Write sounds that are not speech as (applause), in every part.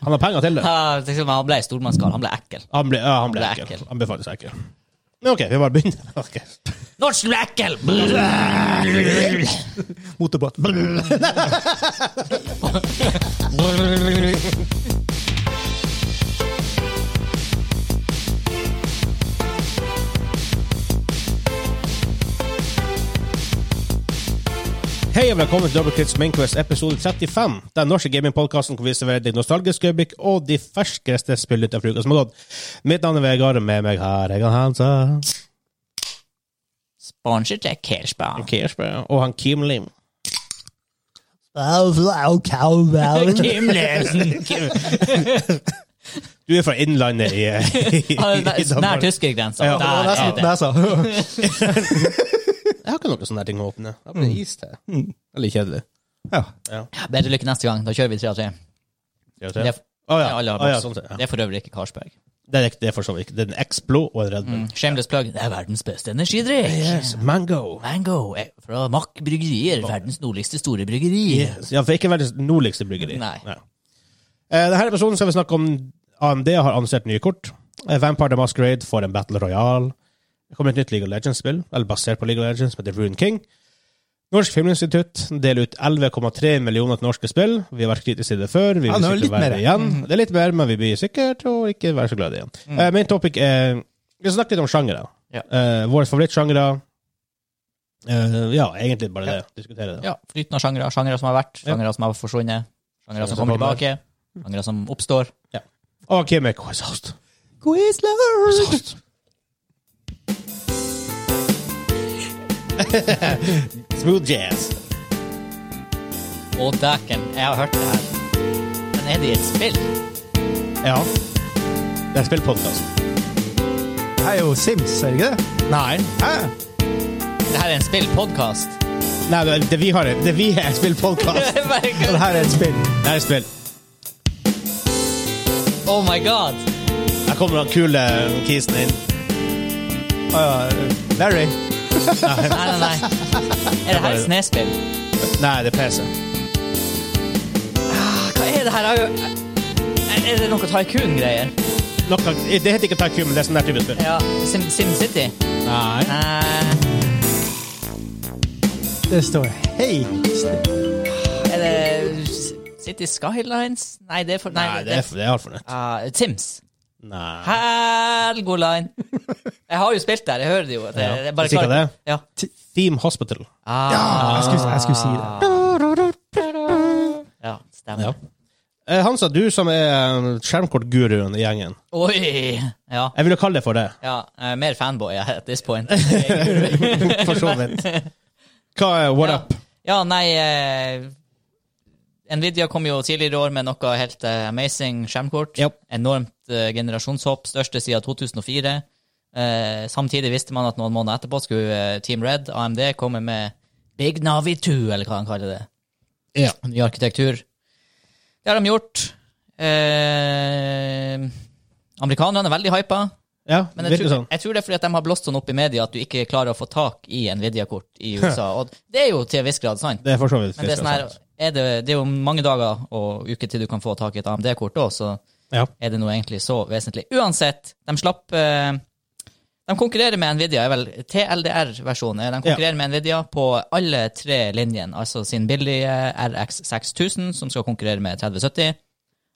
Han har penger til det. Ja, liksom, han ble stormannskall. Han ble ekkel. Han ble, ja, han ble, Han ble ekkel. ekkel. Han befann seg ekkel. Men OK, vi bare begynner. (laughs) Ok. Norsen ble ekkel! Brrr. Motorbåt. Hei og velkommen til Double Crits Mainquest episode 35. Den norske gamingpodkasten hvor vi serverer deg nostalgiske øyeblikk og de ferskeste spillene fra uka som har gått. Mitt navn er Vegard, og med meg her er han Hansa. Sponsor til Kirschbaum. Kirschberg, Og han Kim Lim. Kim (laughs) Levesen. Du er fra Innlandet i, i, Ja, (laughs) det i er Nær Danmark. tyskergrensa. Ja, det var Der er (laughs) det. Jeg har ikke noen sånne ting å åpne. Det blir is til. Veldig kjedelig. Ja. Bedre lykke neste gang. Da kjører vi 3 av 3. Å Det ja. er, alle har Å, ja. boks. Sånn, sett, ja. det er for øvrig ikke Karlsberg. Det er riktig, det er for så vidt. Det er en Explo og en Red Bull. Mm. Shameless plug. Det er verdens beste energidrikk. Yes, mango. Mango er fra Mack Bryggerier, verdens nordligste store bryggeri. Yes. Ja, for ikke verdens nordligste bryggeri. Nei. Eh, denne episoden skal vi snakke om AMD har annonsert nye kort. Eh, Vampire the Masquerade får en Battle Royale. Det kommer et nytt League of Legends-spill, eller basert på League of Legends, som heter Rune King. Norsk Filminstitutt deler ut 11,3 millioner til norske spill. Vi har vært kritiske til det før. Vi Ja, vil det var sikkert litt være mer. Mm. det igjen. Det er litt mer, men vi blir sikkert å ikke være så glad igjen. Eh, min topic er Vi har snakket litt om sjangere. Ja. Eh, våre favorittsjangere. Eh, ja, egentlig bare Ja. det. Diskutere det. Ja, flytende sjangere. Sjangere som har vært, sjangere som har forsvunnet, sjangere som kommer kommer. tilbake, sjangere som oppstår. Og Kim er kåsast. Quizler! (laughs) Smooth jazz. Å, dæken, jeg har hørt det her. Men er det i et spill? Ja. Det er spillpodkast. Det er jo Sims, er det ikke det? Nei. Hæ? Det her er en (laughs) spillpodkast. Nei, det, det vi har det. Det vi er (laughs) spillpodkast. Og det her er et spill. Det er spill. oh my god! Her kommer den kule kisen inn. Uh, Larry. Nei, nei, nei. Er det her et snespill? Nei, det er PC. Ah, Hva er det her? Jeg har jo- Er er det noe Tycoon-greier? Nok, det heter ikke Tycoon, men det er sånn der type spill. Ja, Sim- SimCity? Nei. Eh, Det står Hei. er det S- City Skylines? Nei, det er for... Nei, Nei, det er, det er altfor nytt. Ah, Sims. Nei. Helgoline. Jeg har jo spilt der, jeg hører det jo. Det, Ja, det er bare sikkert klart. det. Ja. Theme Hospital. Ah, Jeg skulle, jeg skulle si det. ja, stemmer. Ja. Eh, Hansa, du som er eh, skjermkortguruen i gjengen. Oi! Ja. Jeg vil jo kalle det for det. ja eh, mer fanboy jeg, at this point. (laughs) For så vidt. Hva er what Ja. up? ja, nei eh, Nvidia kom jo tidligere i år med noe helt eh, amazing skjermkort. Japp. Enormt eh, generasjonshopp, største siden 2004. Eh, samtidig visste man at noen måneder etterpå skulle eh, Team Red, AMD, komme med Big Navi 2, eller hva han kaller det. Ja. ny arkitektur. Det har de gjort. Eh, amerikanerne er veldig hypa. Ja, Men jeg virker tror, sånn. jeg tror det er fordi at de har blåst sånn opp i media at du ikke klarer å få tak i Nvidia-kort i USA. Og det er jo til en viss grad sant. Det er for så vidt Men det er, sånn her, sant. er det, det er jo mange dager og uker til du kan få tak i et AMD-kort òg, så Ja. er det noe egentlig så vesentlig. Uansett, de slapp eh, De konkurrerer med Nvidia, er vel TLDR-versjonen. eh, De konkurrerer med Nvidia på alle tre linjene, altså sin billige RX 6000, som skal konkurrere med 3070,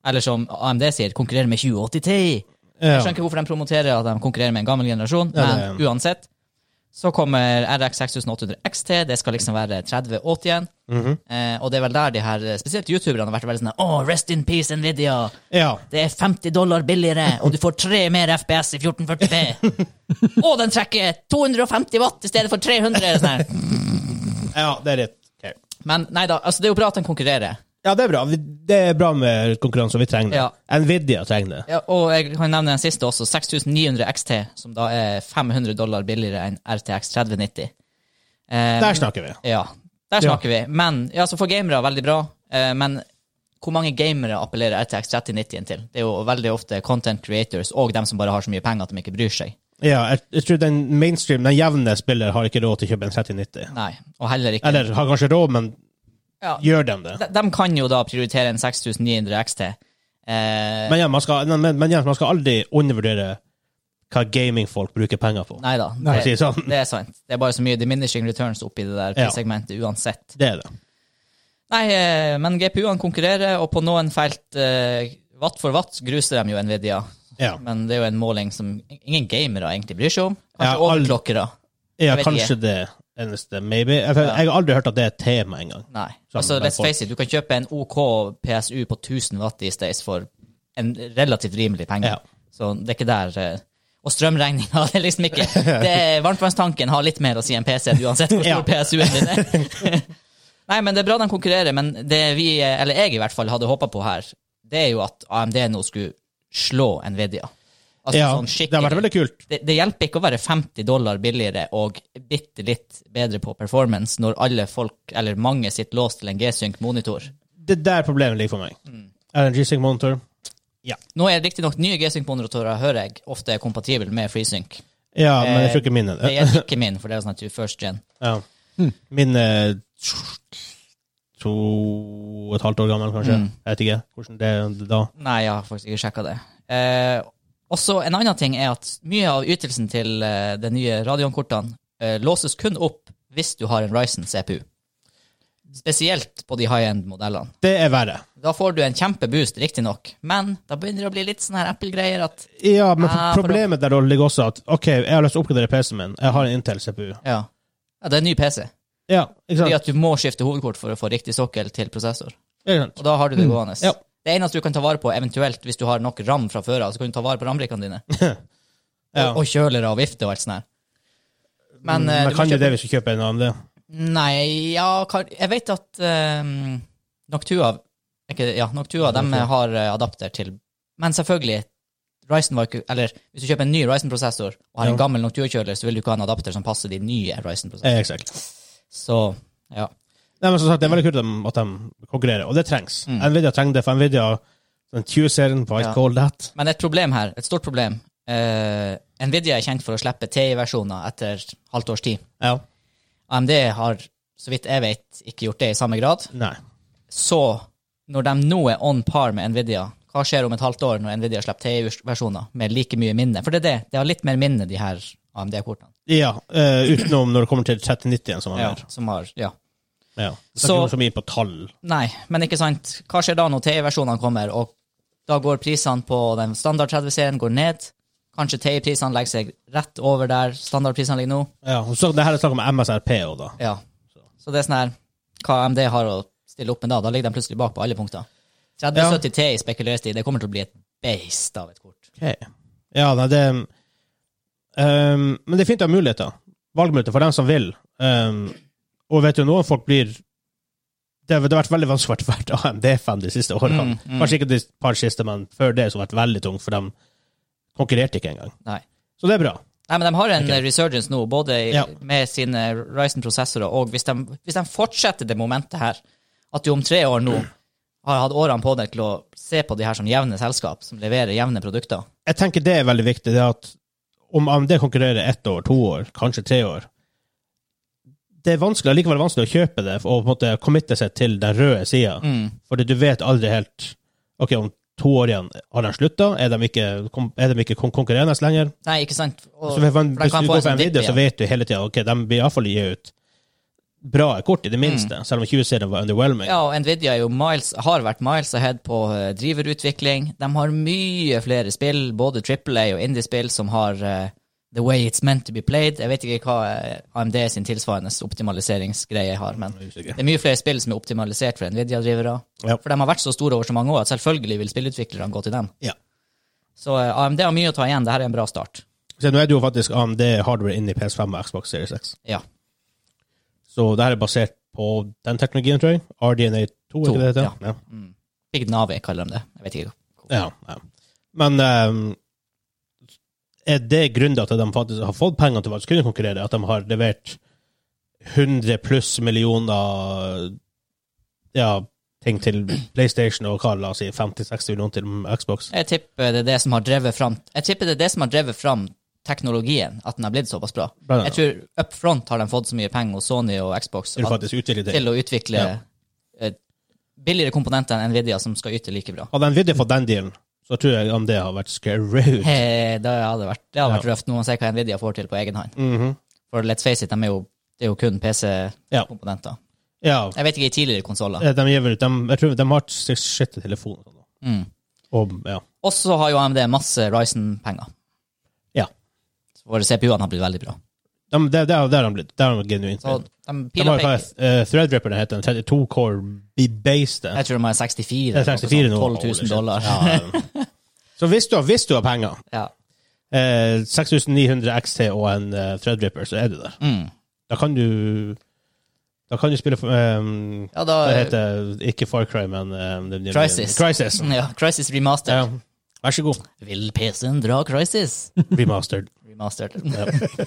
eller som AMD sier, konkurrerer med 2080 Ti. Jeg Ja. skjønner ikke hvorfor de promoterer at de konkurrerer med en gammel generasjon, Ja, men det- uansett. Så kommer RX 6800 XT, det skal liksom være 3080 igjen. Mhm. eh, og det er vel der de her, spesielt youtuberne, har vært veldig sånn Å, rest in peace, Nvidia! ja. Det er 50 dollar billigere, og du får tre mer FPS (laughs) i 1440P! og den trekker 250 watt i stedet for 300! Sånn. her. Ja, det er litt ok. Men nei da, altså det er jo bra at de konkurrerer. Ja, det er bra. Vi- Det er bra med konkurranse, og vi trenger det. Nvidia trenger det. Ja, og jeg kan nevne den siste også, 6900 XT, som da er 500 dollar billigere enn RTX 3090. Eh, Der snakker vi. Ja, der snakker vi. Men, ja, så for gamere, veldig bra. Eh, men hvor mange gamere appellerer RTX 3090-en til? Det er jo veldig ofte content creators og dem som bare har så mye penger at de ikke bryr seg. Ja, jeg, jeg tror den mainstream, den jevne spiller har ikke råd til å kjøpe en 3090. Nei, og heller ikke. Eller har kanskje råd, men Ja. gjør de det? De, de kan jo da prioritere en 6900 XT. Eh, Men, ja, man skal, men, men ja, man skal aldri undervurdere hva gamingfolk bruker penger på. nei da, For å si det det, sånn. det er sant. Det er bare så mye diminishing returns oppi det der Ja. segmentet uansett. Det er det. Nei, eh, men GPU-ene konkurrerer, og på noen felt, eh, watt for watt, gruser de jo Nvidia. Ja, Men det er jo en måling som ingen gamere egentlig bryr seg om. Kanskje Ja, all- overklokkere. ja vet kanskje det eneste, maybe. Jeg, jeg har aldri hørt at det er et tema engang. Nei. Sånn, altså, men let's folk- face it, du kan kjøpe en OK PSU på 1000 watt i stedet for en relativt rimelig penge. Ja. Så det er ikke der eh, Og strømregninga, (laughs) det er liksom ikke det er, Varmtvannstanken har litt mer å si enn PC-en, uansett hvor (laughs) Ja. stor PSU-en din er. (laughs) Nei, men det er bra de konkurrerer, men det vi, eh, eller jeg i hvert fall, hadde håpa på her, det er jo at AMD nå skulle slå Nvidia. Altså Ja, sånn det har vært skikkelig. veldig kult. det, det hjelper ikke å være 50 dollar billigere og bitte litt bedre på performance når alle folk, eller mange, sitter låst til en G-Sync-monitor. Det er der problemet ligger for meg. Mm. Er det en G-Sync monitor? Nå er riktignok nye G-Sync-monitorer, hører jeg, ofte er kompatible med FreeSync. Ja, men jeg Eh, tror ikke min er Det det. er ikke min, for det er sånn at du er first gen. Ja. Min er to og et halvt år gammel, kanskje. Mm. Jeg vet ikke hvordan det er da. Nei, jeg har faktisk ikke sjekka det. Eh, også en annen ting er at mye av ytelsen til eh, de nye radionkortene eh, låses kun opp hvis du har en Ryzen CPU. Spesielt på de high-end-modellene. Det er verre. Da får du en kjempeboost, riktignok, men da begynner det å bli litt sånn her Apple-greier at Ja, men Ah, for problemet der ligger også at OK, jeg har lyst til å oppgradere PC-en min. Jeg har en Intel-CPU. ja. ja, det er en ny PC. Ja, ikke Fordi sant? at du må skifte hovedkort for å få riktig sokkel til prosessor. Ikke sant? Og da har du det gående. Mm. Ja. Det eneste du kan ta vare på, eventuelt hvis du har nok ram fra før av, så kan du ta vare på rambrikkene dine. Ja. Mm, Og, og kjølere og vifte og alt sånt her. Men, eh, Men du må kan jo kjøpe- det hvis du kjøper en annen. det. Nei, ja kan, Jeg vet at eh, Noctua, er ikke, ja, Noctua de Noctua. har eh, adapter til Men selvfølgelig, Ryzen var ikke Eller hvis du kjøper en ny Ryzen-prosessor og har Ja. en gammel Noctua-kjøler, så vil du ikke ha en adapter som passer de nye Ryzen-prosessorene. Eh, exakt. Så ja. Nei, men som sagt, Det er veldig kult at de- at de konkurrerer, og det trengs. Mm. Nvidia trenger det, for Nvidia den Q-serien på Ice Ja. Cold Hat Men et problem her, et stort problem eh, Nvidia er kjent for å slippe TI-versjoner etter halvt års tid. ja. AMD har, så vidt jeg vet, ikke gjort det i samme grad. Nei. Så når de nå er on par med Nvidia, hva skjer om et halvt år når Nvidia slipper TI-versjoner med like mye minne? For det er det, det har litt mer minne, de her AMD-kortene. Ja, eh, utenom når det kommer til 3090-en, som han Ja. gjør. Som har, ja. Ja. Så- Så, så, så mye på tall. Nei, men ikke sant. Hva skjer da når TI-versjonene kommer, og da går prisene på den standard 30-serien går ned? Kanskje TI-prisene legger seg rett over der standardprisene ligger nå? Ja, og så det her er snakk om MSRP også, da. Ja. Så det er sånn her Hva AMD har å stille opp med da? Da ligger de plutselig bak på alle punkter. 3070 TI spekuleres det i. Det kommer til å bli et beist av et kort. Ok. Ja, nei, det ehm, Men det er fint å ha muligheter. Valgmuligheter for dem som vil. Ehm, og vet du, noen folk blir Det har det har vært veldig vanskelig å være AMD-fan de siste årene. Mm, mm. Kanskje ikke de par siste, men før det så har det vært veldig tungt, for de konkurrerte ikke engang. Nei. Så det er bra. Nei, men de har en Ok. resurgence nå, både i, Ja. med sine Ryzen-prosessorer og hvis de, hvis de fortsetter det momentet her, at du om tre år nå har hatt årene på deg til å se på de her som jevne selskap, som leverer jevne produkter. Jeg tenker det er veldig viktig, det at om AMD konkurrerer ett år, to år, kanskje tre år Det er vanskelig, likevel vanskelig å kjøpe det og på en måte committe seg til den røde sida. Mm. Fordi du vet aldri helt Ok, om to år igjen, har de slutta? Er de ikke, kon- er de ikke kon- konkurrerende lenger? Nei, ikke sant? Og, Så hvis, man, for hvis de kan du få går på en sånn Altså, en dipp video, så igjen. vet du hele tida ok, de vil iallfall gi ut bra kort, i det minste. Selv om 20-serien var underwhelming. Mm. Ja, og Nvidia er jo miles, har vært miles ahead på eh, driverutvikling. De har mye flere spill, både AAA og indie-spill, som har eh, the way it's meant to be played. Jeg vet ikke hva eh, AMD sin tilsvarende optimaliseringsgreie har, men Jeg er det usikker. er mye flere spill som er optimalisert for Nvidia-drivere. Ja. For de har vært så store over så mange år at selvfølgelig vil spillutviklerne gå til dem. Ja. Så eh, AMD har mye å ta igjen. Dette er en bra start. Så nå er det jo faktisk AMD hardware inn i PS5 og Xbox Series X. Ja. Så det her er basert på den teknologien, tror jeg. RDNA 2, er To, ikke det det heter? Ja. Big Navi kaller de det. Jeg vet ikke. Ja, ja. Men ehm, er det grunnen til at de faktisk har fått penger til å faktisk kunne konkurrere? At de har levert 100 pluss millioner ja, ting til PlayStation og hva, la oss si 50-60 millioner til Xbox? Jeg tipper det er det som har drevet fram Jeg tipper det er det som har drevet fram teknologien, at den har blitt såpass bra. Bra, ja. Jeg tror up front har de fått så mye penger hos Sony og Xbox Til å at, faktisk utvikle ting? til å utvikle Ja. eh, billigere komponenter enn Nvidia som skal yte like bra. Hadde Nvidia fått den dealen, så tror jeg om det har vært screwed. Eh, Det hadde vært, det hadde vært røft nå å se hva Nvidia får til på egen hånd. Mhm. For let's face it, de er jo, det er jo kun PC-komponenter. Ja. Jeg vet ikke i tidligere konsoller. Eh, De, gir vel ut, de, jeg tror de har sjette telefon. og sånn. Mm. Og, ja. Og så har jo AMD masse Ryzen-penger. Ja. Så Våre CPU-ene har blitt veldig bra. De, det, det, har- det har de blitt. Det har de genuint Så blitt. de De har piler hva peker. uh, Threadripper det heter, 32 core be-based. Jeg tror de har 64. Det er 64 nå. 12 000 dollar. Ja, ja. Så hvis du, har- hvis du har penger, Ja. eh, 6900 XT og en eh, Threadripper, så er du der. Mm. Da kan du Da kan du spille for, ehm, ja, da Det heter ikke Far Cry, men ehm, det- det- Crysis. Crysis. ja, Crisis Remastered. Ja. Vær så god. Vil PC-en (laughs) dra Crisis? Remastered. Remastered. Ja.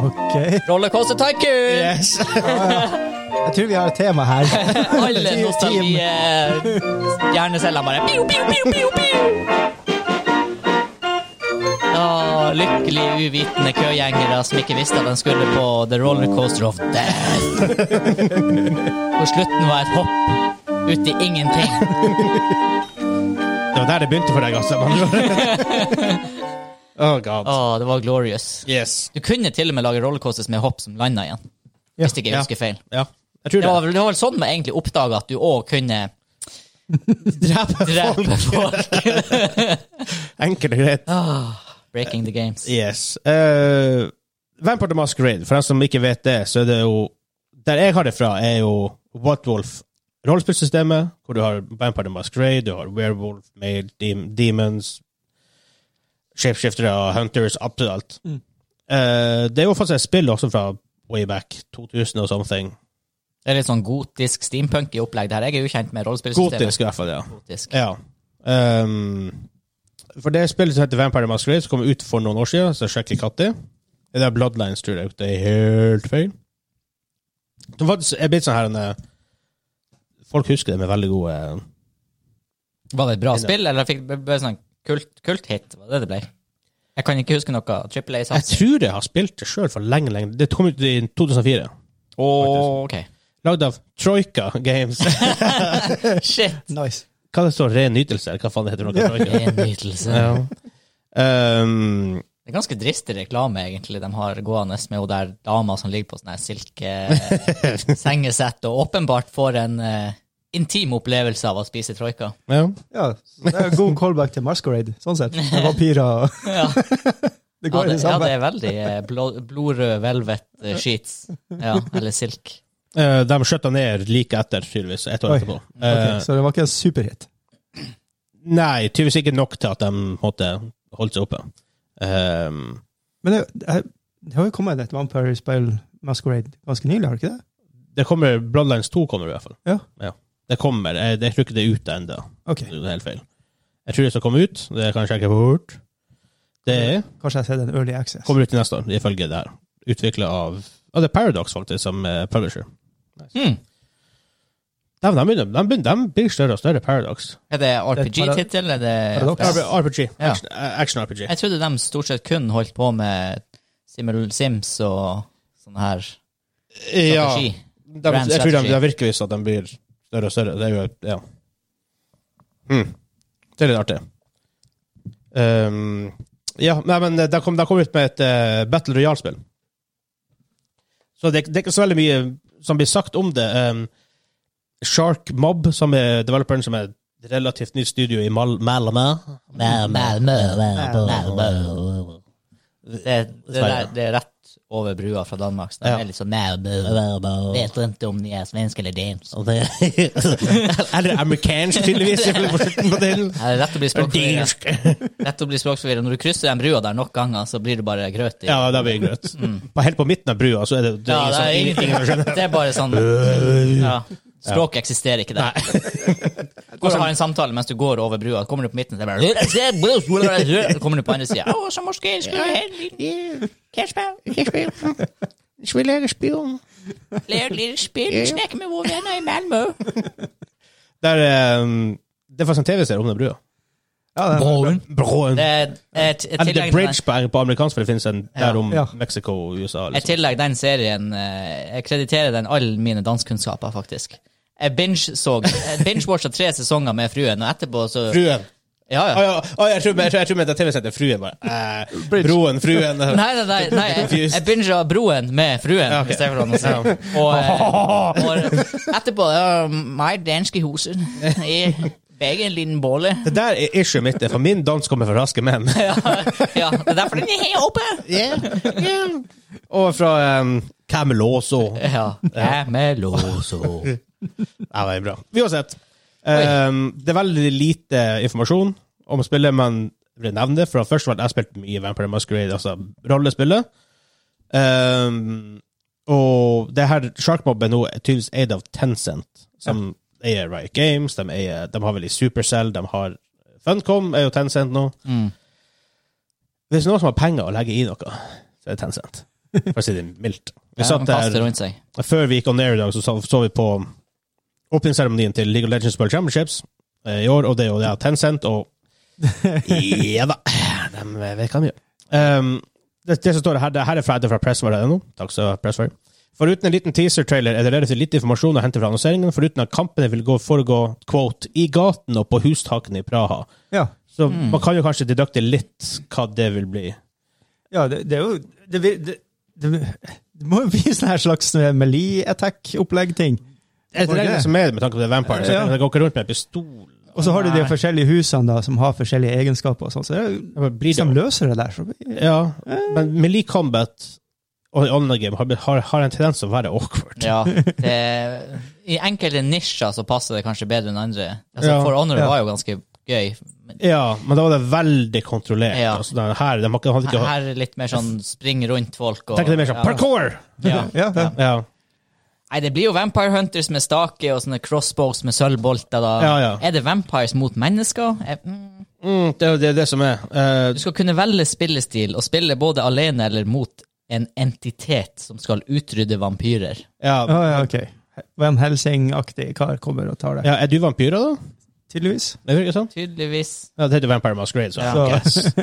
Ok. Rollercoaster Tycoon! Yes. Jeg tror vi har et tema her. Alle Team- nostalgi team. eh, Hjerneceller bare piu, piu, piu, piu, piu. Ja, lykkelig uvitende køgjengere som ikke visste at de skulle på The Rollercoaster of Death. Hvor slutten var et hopp ut i ingenting. Det var der det begynte for deg, altså. med andre ord. oh god. Å, det var glorious. Yes. Du kunne til og med lage rollercoasters med hopp som landa igjen. Hvis ikke jeg ja. husker feil. Ja. Jeg tror Det var det. vel, det var vel sånn man egentlig oppdaga at du òg (laughs) kunne drepe, folk. Enkelt og greit. Breaking the games. Yes. Uh, Vampire the Masquerade, for dem som ikke vet det, så er det jo Der jeg har det fra, er jo Watwolf rollespillsystemet, hvor du har Vampire the Masquerade, du har Werewolf, Male, dem Demons, shapeshiftere og Hunters, absolutt alt. Eh, det er jo faktisk et spill også fra way back, 2000 og something. Det er litt sånn gotisk steampunk i opplegg. det her. Jeg er ukjent med rollespillsystemet. Gotisk, i hvert fall. ja. Gotisk. Ja. Ehm, for det spillet som heter Vampire the Masquerade, som kom ut for noen år siden, så sjekker jeg katt i. Det er Bloodlines, tror jeg. Det er helt feil. Det var, jeg blitt sånn her en, eh, Folk husker det med veldig gode eh, Var det et bra spill, eller fikk det ble sånn kult, kulthit? Var det det ble? Jeg kan ikke huske noe. Triple Jeg A-satsing. tror jeg har spilt det sjøl for lenge, lenge Det kom ut i 2004. Ok. Lagd av Troika Games. (laughs) Shit. (laughs) Nice. Hva det står Ren nytelse, eller hva faen det heter? Noe, Det (laughs) Troika. er en nytelse. Ja. Ehm, Det er ganske dristig reklame, egentlig, de har gående med hun der dama som ligger på sånn her silke sengesett, og åpenbart får en eh, intim opplevelse av å spise troika. ja. Ja, så det er en god callback til Masquerade, sånn sett. Med vampyrer og Ja, Det ja, går i det, ja, det samme. det er veldig eh, blå, blodrød velvet eh, sheets. Ja, eller silk. Eh, de skjøtta ned like etter, tydeligvis. Ett år Oi. etterpå. Eh, Ok, så det var ikke en superhit. Nei, tydeligvis ikke nok til at de måtte holde seg oppe. Ehm, Men det, det- det har jo kommet et vampyrspill, Masquerade, ganske nylig, har det ikke det? det kommer, Bloodlines 2 kommer i hvert fall. Ja. Det kommer. Jeg, jeg tror ikke det er ute ennå. Ok, Det er helt feil. Jeg tror det skal komme ut. Det kan jeg sjekke fort. Det er- kanskje jeg har sett en early access. kommer ut i neste år, ifølge det her. Utvikla av Ja, det er Paradox, faktisk, som eh, publisher. Hmm. De, de, begynner, de, begynner, de blir større og større, Paradox. Er det Det er para- RPG-tittel? Er det Paradox. FPS? RB- RPG. Ja. Action- eh, Action-RPG. Jeg trodde de stort sett kun holdt på med Simul Sims og sånn her strategi. De, Grand jeg tror de, strategy. det virker visst at de blir større og større. Det er jo ja. Mm. Det er litt artig. Um, ja, nei, men de kom, de kom ut med et eh, Battle Royale-spill. Så det, det er ikke så veldig mye som blir sagt om det. Um, Shark Mob, som er developeren som er et relativt nytt studio i Mal Malmö Det, det, der, det er rett over brua fra Danmark, så de Ja. er litt sånn nær Vet ikke om de er svenske eller danske. (laughs) (laughs) Eller amerikansk, tydeligvis. Jeg ble på slutten på det. Det er lett å bli språkforvirra. Lett å bli språkforvirret. Når du krysser den brua der nok ganger, så blir det bare grøt (laughs) i. Ja, da blir det grøt. På- Helt på midten av brua, så er det, Mm. det, er ingen Ja, det, som- er ingen, ingen som skjønner. ingenting. det er bare sånn ja. Språk eksisterer ikke der. Går (laughs) og har en samtale mens du går over brua, kommer du på midten, så er det bare Kommer du på andre sida Så måske skulle jeg ha en liten Jeg vil lage spion. lave et lille spill, snakke med våre venner i Malmö. ehm, Der, eh, det er faktisk en TV-serie om den brua. Ja, det, Broen. Broen. Det er et, et, Eller The tillegg, til den- Bridge på, på amerikansk, for det finnes en der om Ja. Mexico og USA. et Liksom. tillegg den serien eh, Jeg krediterer den alle mine danskkunnskaper, faktisk. Jeg binge-så jeg binge-watcha tre sesonger med fruen, og etterpå så Fruen. Ja, Å ja. ja, å, jeg tror jeg tror- jeg tror med TV-settet Fruen bare eh, Bridge. Broen, Fruen (laughs) Nei, nei, nei, nei jeg, Confused. jeg binga Broen med fruen. Ja, ok. hvis det er hvordan man sier. Og, (laughs) eh, og etterpå ja, My danske hoser i begge en liten (laughs) bolle. Det der er issue mitt, for min dans kommer fra raske (laughs) menn. (laughs) Ja, ja, det er derfor den er helt oppe! Og fra um, Cameloso. Ja. Cameloso. (laughs) Ja, det er bra. Uansett. Um, det er veldig lite informasjon om spillet, men jeg vil nevne det. For først og fremst, jeg har spilt mye Vampire Masquerade, altså rollespillet. Um, og det her Sharkmob er nå tydeligvis eid av Tencent, som eier Riot Games. De, eier, de har vel i Supercell, de har Funcom, er jo Tencent nå. Mm. Hvis noen som har penger å legge i noe, så er det Tencent. For å si det mildt. Vi Ja, satt man der kaster rundt seg. før vi gikk on air i dag, så så, så vi på åpningsseremonien til League of Legends World Championships eh, i år, og det er jo det er Tencent, og Ja da, de vet hva de gjør. Um, det, det som står her, det her er fra, det er fra pressware.no. Takk skal du ha, Pressware. Foruten en liten teaser-trailer er det relativt lite informasjon å hente fra annonseringen, foruten at kampene vil gå foregå quote, i gaten og på hustakene i Praha. ja. Så man kan jo kanskje dedukte litt hva det vil bli. ja det, det er jo det, vil- det, det, det må jo bli sånn her slags melee attack-opplegg-ting. Det er det som er det med tanke på det Vampire. Så Ja. Det går ikke rundt med en pistol. Og så har de de Nei. forskjellige husene da, som har forskjellige egenskaper. og sånn, så det er jo, Blir Hvis det de løser det der, så blir- Ja, Eh. men Melee Combat og online game har, har, har en tendens å være awkward. Ja, det, I enkelte nisjer så passer det kanskje bedre enn andre. Altså, Ja, For Honor ja. var jo ganske gøy. Men Ja, men da var det veldig kontrollert. Ja. Altså, det her, de har ikke, hadde her ikke her er det litt mer sånn spring rundt folk. Og, Tenk det er mer sånn ja. parkour! Ja. Ja, ja. Ja, Nei, det blir jo Vampire Hunters med stake og sånne crossbows med sølvbolter. da. Ja, ja. Er det vampires mot mennesker? Eh, mm. Mm, det er jo det, det som er. Eh, Du skal kunne velge spillestil og spille både alene eller mot en entitet som skal utrydde vampyrer. ja. Ah, ja, ok. Van Helsing-aktig kar kommer og tar det, ja, er du vampyr, da? tydeligvis. Er det ikke sånn? Tydeligvis. Ja, det heter Vampire Masquerade, så Ja. fuck Så- (laughs) yes.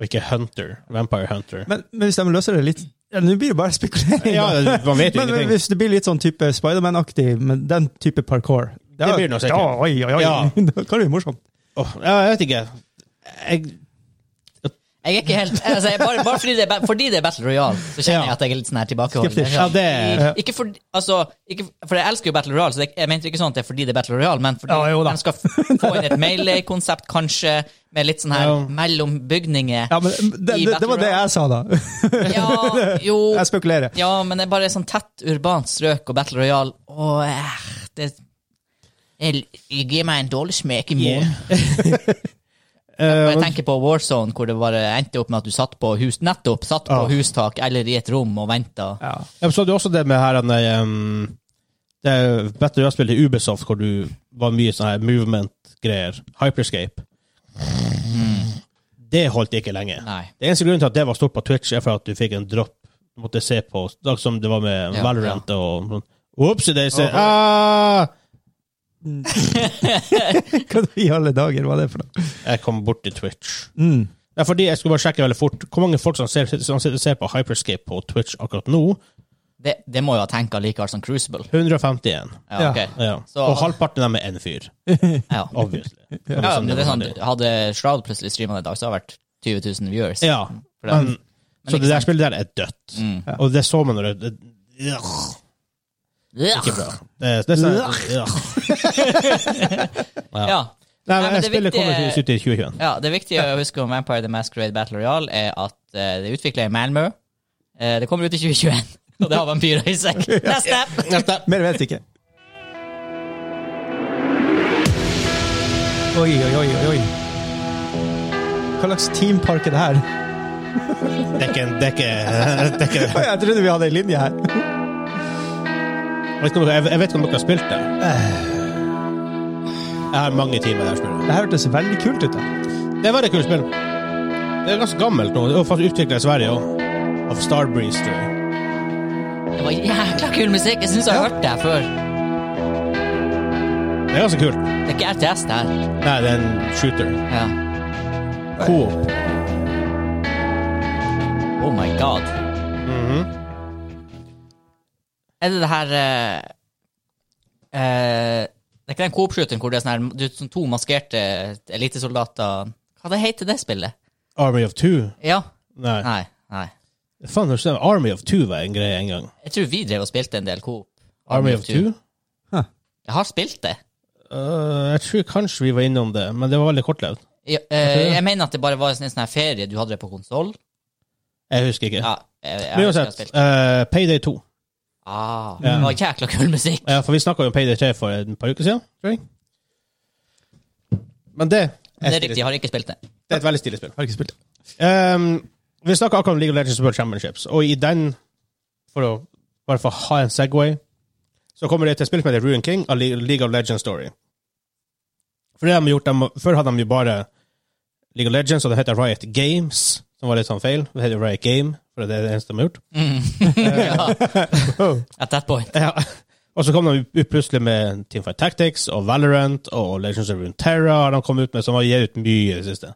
Og ikke Hunter. Vampire Hunter. Men, men hvis de løser det litt ja, Nå blir det bare spekulering. Ja, da. man (laughs) vet jo (laughs) men, men ingenting. hvis det blir litt sånn type Spiderman-aktig, men den type parkour da- Det blir det nå sikkert. Da, oi, oi, oi. Ja. da kan (laughs) det bli morsomt. Åh, ja, jeg vet ikke. Jeg, Jeg er ikke helt altså, jeg, bare, bare fordi, det er, ba- fordi det er Battle Royale, så kjenner Ja. jeg at jeg er litt sånn her tilbakeholden. Jeg Skeptisk. er sånn, Ja, det- i- Ikke for, altså, ikke, for jeg elsker jo Battle Royale, så det, jeg mente ikke sånn at det er fordi det er Battle Royale, men fordi Ja, jo da. de skal f- få inn et melee-konsept, kanskje, med litt sånn her Ja. mellom bygninger. Ja, men det, I det, det var Battle det jeg sa, da. Ja, jo, Jeg spekulerer. ja, men det er bare sånn tett urbant strøk og Battle Royale, og eh, det jeg, jeg gir meg en dårlig smek i morgen. (laughs) Eh, Og jeg tenker på Warzone, hvor det bare endte opp med at du satt på hus, nettopp satt på Ja. hustak eller i et rom og venta. Ja. Ja, men så hadde du også det med her han, ehm, Det er Battle Royale-spillet i Ubisoft, hvor du var mye sånn her movement-greier. Hyperscape. Det holdt ikke lenge. Nei. Det eneste grunnen til at det var stort på Twitch, er for at du fikk en drop. Du måtte se på, sånn som det var med Ja, Valorant og sånn. Oopsie daisy! Åh. Ah! Hva i alle dager var det for noe? Jeg kom bort til Twitch. Mm. Ja, fordi jeg skulle bare sjekke veldig fort hvor mange folk som ser, som ser på Hyperscape på Twitch akkurat nå. Det, det må jo ha tenkt likevel som Crucible. 151. Ja, ok. Ja. Så- Og halvparten av dem er én fyr. (laughs) ja. Obviously. ja, men det er sånn, Hadde Shroud plutselig streama i dag, så hadde det vært 20 000 viewers. Ja, For det- men, så ikke det der sant. spillet der er dødt. Mm. Og det så man når det, det Ugh, Ikke bra. Det, det er sånn Ugh. Ja. Nei, Nei, men men det spillet viktige- kommer til ut i 2021. Ja, Det viktige å huske om Vampire the Masquerade Battle Royale er at eh, det er utvikla i Malmö. Eh, det kommer ut i 2021, (laughs) og det har vampyrer i (laughs) seg. Neste! Mer vet jeg ikke. Oi, oi, oi, oi, oi. Hva slags teampark er det her? Det er ikke en- det er ikke- det er ikke Oi, (laughs) Jeg trodde vi hadde en linje her. Jeg vet ikke om dere- jeg vet ikke om dere har spilt det. Jeg har mange timer der spillet. Det her hørtes veldig kult ut. da. Det var et kult spill. Det er ganske gammelt nå. Det var faktisk utvikla i Sverige òg. Av Starbreeze, tror jeg. Det var jækla kul musikk. Jeg syns jeg har hørt det her før. Det er ganske kult. Det er ikke RTS, det her. Nei, det er en shooter. Ja. Cool. Oh my god. Mhm. Er det det her eh, eh, Det er ikke den Coop-shooteren hvor det er sånn her, du, er sånn to maskerte elitesoldater Hva det heter det spillet? Army of Two? Ja? Nei. Nei. nei. Faen, det stemmer. Army of Two var en greie en gang. Jeg tror vi drev og spilte en del Coop. Army, of Two? Jeg har spilt det. Eh, jeg tror kanskje vi var innom det, men det var veldig kortlevd. Jeg, eh, jeg mener at det bare var en sånn her ferie du hadde det på konsoll. Jeg husker ikke. Ja, jeg, jeg, men jeg, har uansett, spilt. eh, Payday 2. Ah, det var jækla kul musikk. Ja, for vi snakka jo om Payday 3 for et par uker siden, tror jeg. Men det Det er stilig- riktig, jeg har ikke spilt det. det er et veldig stilig spill. Har ikke spilt det. Ehm, vi snakka akkurat om League of Legends World Championships, og i den, for å bare for å ha en Segway, så kommer det til et spill som heter Ruin King av Le- League of Legends Story. For det har de gjort, de, Før hadde de jo bare League of Legends, og det heter Riot Games, som var litt sånn feil. Det heter Riot Game, for det er det eneste de har gjort. At that point. Ja. Og så kom de ut plutselig med Teamfight Tactics og Valorant og Legends of Runeterra har de kom ut med, som har gitt ut mye i det siste.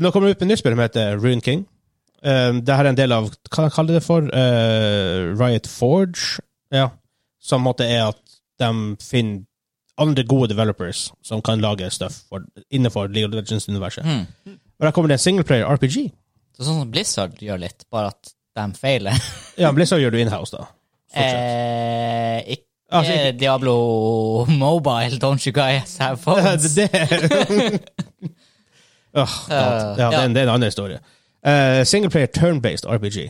Nå kommer det ut med et nytt spill som heter Rune King. Um, det her er en del av Hva kaller de det for? Eh, Riot Forge? Ja. Som måte er at de finner andre gode developers som kan lage stuff for, innenfor League of Legends-universet. Og der kommer det en singleplayer RPG. Så sånn som Blizzard gjør litt, bare at de (laughs) feiler. Ja, Blizzard gjør du inhouse, da. Stort sett. Eh, ikke Altså, ikke- Diablo Mobile, don't you guys have (laughs) phones? det (laughs) Åh, God. Eh, ja, det, er en, det er en annen historie. Eh, Singleplayer turn-based RPG.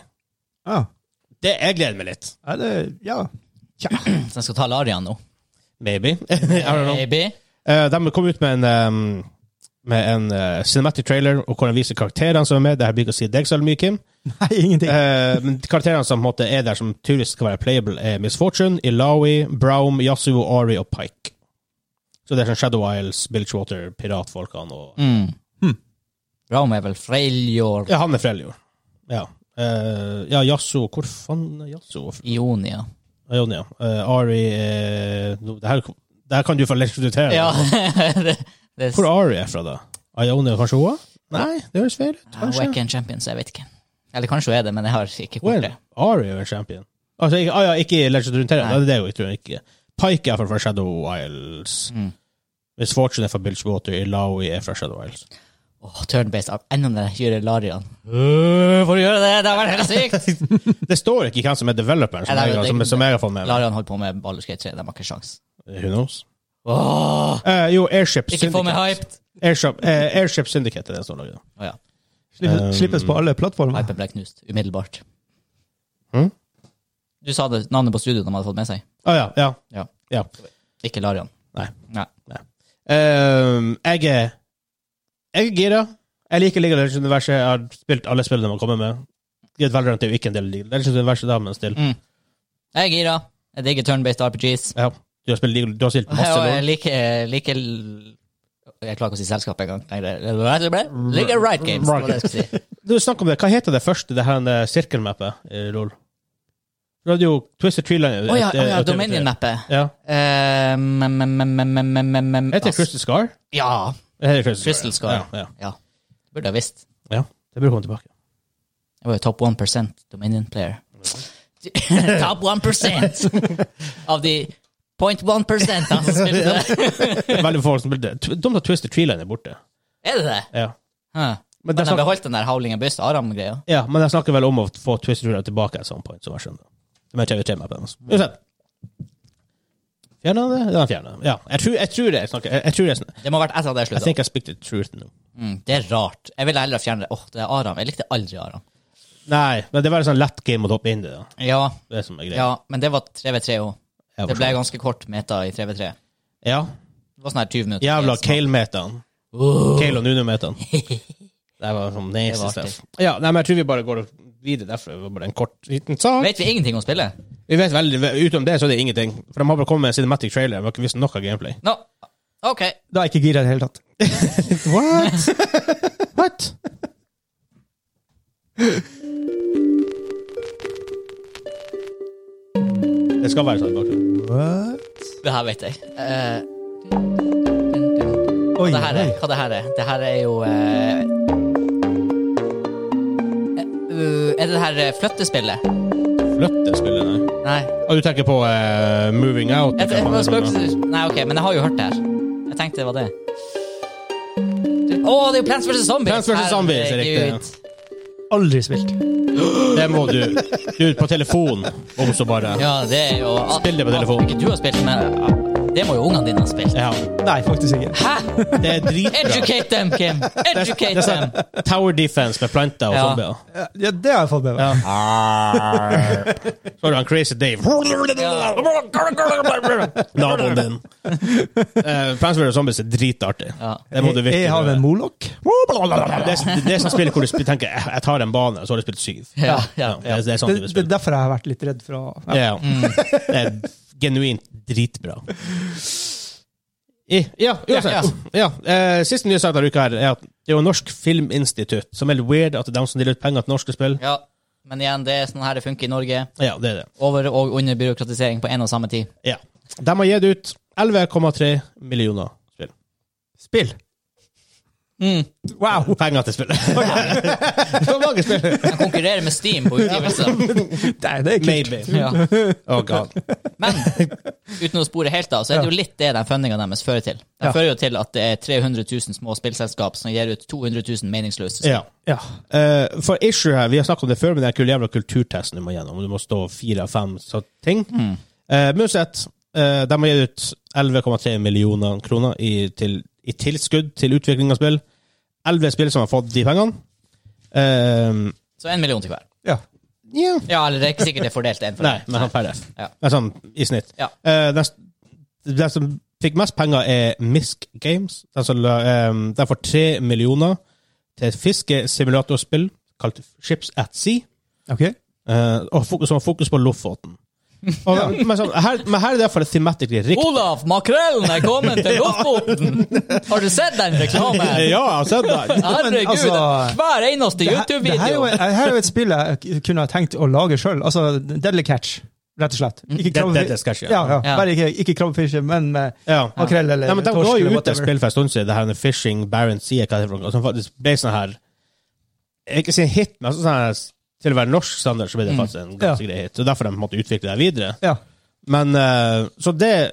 Ah, Det jeg gleder meg litt. er det Ja. (laughs) Så jeg skal ta Larian nå. Maybe. (laughs) I don't know. Baby. Eh, de kom ut med en, ehm, med en eh, cinematic trailer og hvor de viser karakterene som er med. Det her blir ikke å si deg så mye, Kim. Nei, ingenting. Eh, men karakterene som på en måte, er der som tydeligvis skal være playable, er Miss Fortune, Ilawi, Braum, Yasuo, Ari og Pike. Så det er sånn Shadow Isles, Bilgewater, piratfolkene og Rome Hm. er vel Freljord Ja, han er Freljord. Ja. Eh, ja, Yasso Hvor faen er Yasso? Ionia. Ja, Jonny, ja. Eh, Ari eh, no, det, her, det her kan du få leksutere. Ja, (laughs) det, det Hvor Ari er fra, da? Ionia, kanskje hun? er? Nei, det høres feil ut. Ja, Hun er Kanskje. ikke en champion, så jeg vet ikke. Eller kanskje hun er det, men jeg har ikke Hun er kort det. det. Ari er jo en champion. Altså, ikke, ah, ja, ikke legendary Terra. Nei. Det er det jo, jeg tror jeg ikke. Pike er fra- fra Shadow Isles. Mm. Miss Fortune er fra Bilgewater. Ilawi er fra Shadow Isles. Åh, turn-based av enda det Hyre Larian. Øh, Får du gjøre det? Det har vært helt sykt! Det står ikke hvem som er developeren, som, Nei, det er jeg, jo- som, som jeg har fått med meg. (laughs) Larian holder på med Ballerskate 3, de har ikke sjans. Who knows? Åh, Eh, jo, Airship ikke få meg Syndicate. hyped! Airship, eh, Airship Syndicate er det som lager det. Å ja. Slippes, slippes på alle plattformer. Hypen ble knust umiddelbart. Hm? Du sa det navnet på studioet de hadde fått med seg. Å ja. ja, Ja. ja. Ikke Larian. Nei. Nei. Ehm, jeg er Jeg er gira. Jeg liker League of Legends-universet. Jeg har spilt alle spillene man kommer med. Gud, Valorant er jo ikke en del av League of Legends-universet, da, men still. Jeg er gira. Jeg digger turn-based RPGs. Ja. Du har spilt, League- du har spilt Og masse jeg LOL. liker, liker Jeg klarer ikke å si selskap engang. Liker Right Games. det var det jeg skulle si. Du snakk om det. Hva heter det første, det her eh, sirkelmappet i LOL? Du hadde jo Twisted Tree Line. Å ja, et- eh, å ja et- Dominion-mappet. Ja. Eh, mm, mm, mm, mm, mm, mm, mm, mm, Heter det ass. Crystal Scar? Ja. Det heter Crystal Scar. Crystal Scar. Ja, ja. ja. Burde ha visst. ja. Det burde komme tilbake. Jeg var jo top 1 Dominion player. (laughs) top 1 av de 0.1 som spilte (laughs) det. Veldig få folk som spilte det. Dumt at Twisted Tree Line er borte. Er det det? Ja. Huh. Men Men det de er snakk- beholdt den der Howling Abyss Aram-greia. Ja, men jeg snakker vel om å få Twisted Ruler tilbake at some point, som jeg skjønner. Men jeg tjener på den. altså. Uansett. Fjerna han det? Ja, han fjerna det. Ja, jeg tror, jeg tror det. Jeg, snakker, jeg, jeg tror det. er sånn- Det må ha vært etter at jeg I slutta. think I speak the truth nå. Mm, det er rart. Jeg ville heller ha fjernet det. Åh, det er Aram. Jeg likte aldri Aram. Nei, men det var en sånn lett game å hoppe inn i. da. Ja, Det er som er greia. ja men det var 3v3 òg. Ja, Det ble ganske kort meta i 3v3. Ja. Det var sånn her 20 minutter. Jævla Kale-meteren. Kale og (laughs) Nuno-meteren. Det var sånn Det nasty var stuff. Ja, nei, men jeg tror vi bare går videre derfra. Det var bare en kort liten sak. Vet vi ingenting om spillet? Vi vet veldig, utenom det så er det ingenting. For de har bare kommet med en cinematic trailer. De har ikke vist noe gameplay. Nå, OK. Da er jeg ikke gira i det hele (laughs) tatt. What? What? Det skal være sånn i bakgrunnen. What? Det her vet jeg. Eh, Oi, det her er, oi. hva det her er? Det her er jo eh, Uh, er det det her eh, flyttespillet? Flyttespillet, nei. Nei. Og du tenker på eh, Moving Out? Jeg, jeg, hva jeg, faen det heter. nei, ok, men jeg har jo hørt det her. Jeg tenkte det var det. Å, det er jo Plants vs. Zombies! Plants vs. Zombies, er riktig, ja. Herregud. Aldri spilt. det må du. Du er på telefon, om så bare. Ja, det er jo Spill det på Ah, telefonen. Ikke du har spilt, men ah, det må jo ungene dine ha spilt. Ja. Nei, faktisk ikke. Hæ?! Det er dritbra. sånn Educate them, (laughs) Kim! Educate them! Tower defense med planter og Ja. (laughs) zombier. Ja, det har jeg fått med meg. Ja. Så har du han Crazy Dave. Naboen din. Uh, Plants vs. Zombies er dritartig. Ja. Det må du Jeg- virkelig Jeg har en gjøre. molokk. Det er det er sånn spill hvor du sp- tenker jeg jeg tar en bane, og så har du spilt syv. Ja, ja, Det, er- det er sånn Det, type det spill. er derfor jeg har vært litt redd for å ja. Ja. Mm. Det er genuint dritbra. I, ja, uansett. Ja, Ja, eh, siste nye sak denne uka her er at det er jo Norsk Filminstitutt, som er litt weird at det er de som deler ut penger til norske spill. Ja, men igjen, det er sånn her det funker i Norge. Ja, det er det. Over- og under byråkratisering på en og samme tid. Ja. De har gitt ut 11,3 millioner spill. Spill! Wow! Penger til spill. Så mange spill. De konkurrerer med Steam på utgivelser. Mm. Nei, det er kult. (laughs) Maybe. Ja. Oh god. Men uten å spore helt av, så er det jo litt det den fundinga deres fører til. Den Ja. fører jo til at det er 300 000 små spillselskap som gir ut 200 000 meningsløse spill. Ja. Ja. Eh, for issue her, vi har snakket om det før, men det er kul jævla kulturtesten du må gjennom. Du må stå fire av fem så- ting. Mm. Musett, eh, de har gitt ut 11,3 millioner kroner i, til, i tilskudd til utvikling av spill. 11 spill som har fått de pengene. Eh, Så én million til hver. ja. ja. Ja, eller det er ikke sikkert det er fordelt én for Nei, én. men han per F. Ja. Det er Sånn i snitt. Ja. Eh, den, s- den som fikk mest penger, er Misk Games. Den, som, la- eh, den får tre millioner til et fiskesimulatorspill kalt Ships at Sea. Ok. Eh, og fokus, som har fokus på (laughs) Lofoten. Og, men, sånn, her, men her er det iallfall thematic riktig. Olaf, makrellen er kommet til Lofoten! Har du sett den reklamen? Ja, jeg har sett det. Herregud, Men, altså, hver eneste Det her, det her er jo YouTube-video! et- det her er jo et spill jeg k- kunne ha tenkt å lage sjøl. Altså Deadly Catch, rett og slett. Ikke Mm. Dead- krabbe- Deadly Catch, ja. ja. ja. Ja. Bare ikke, ikke krabbefiske, men med Ja. makrell eller Nei, men de torsk ga jo eller ut et whatever. spill for en stund siden, det her med Fishing Barents Sea, hva det er for noe, som faktisk ble sånn her Jeg vil ikke si en hit, men sånn her, til å være norsk standard så ble Mm. det faktisk en ganske grei hit. Og derfor de måtte utvikle det videre. Ja. Men eh, Så det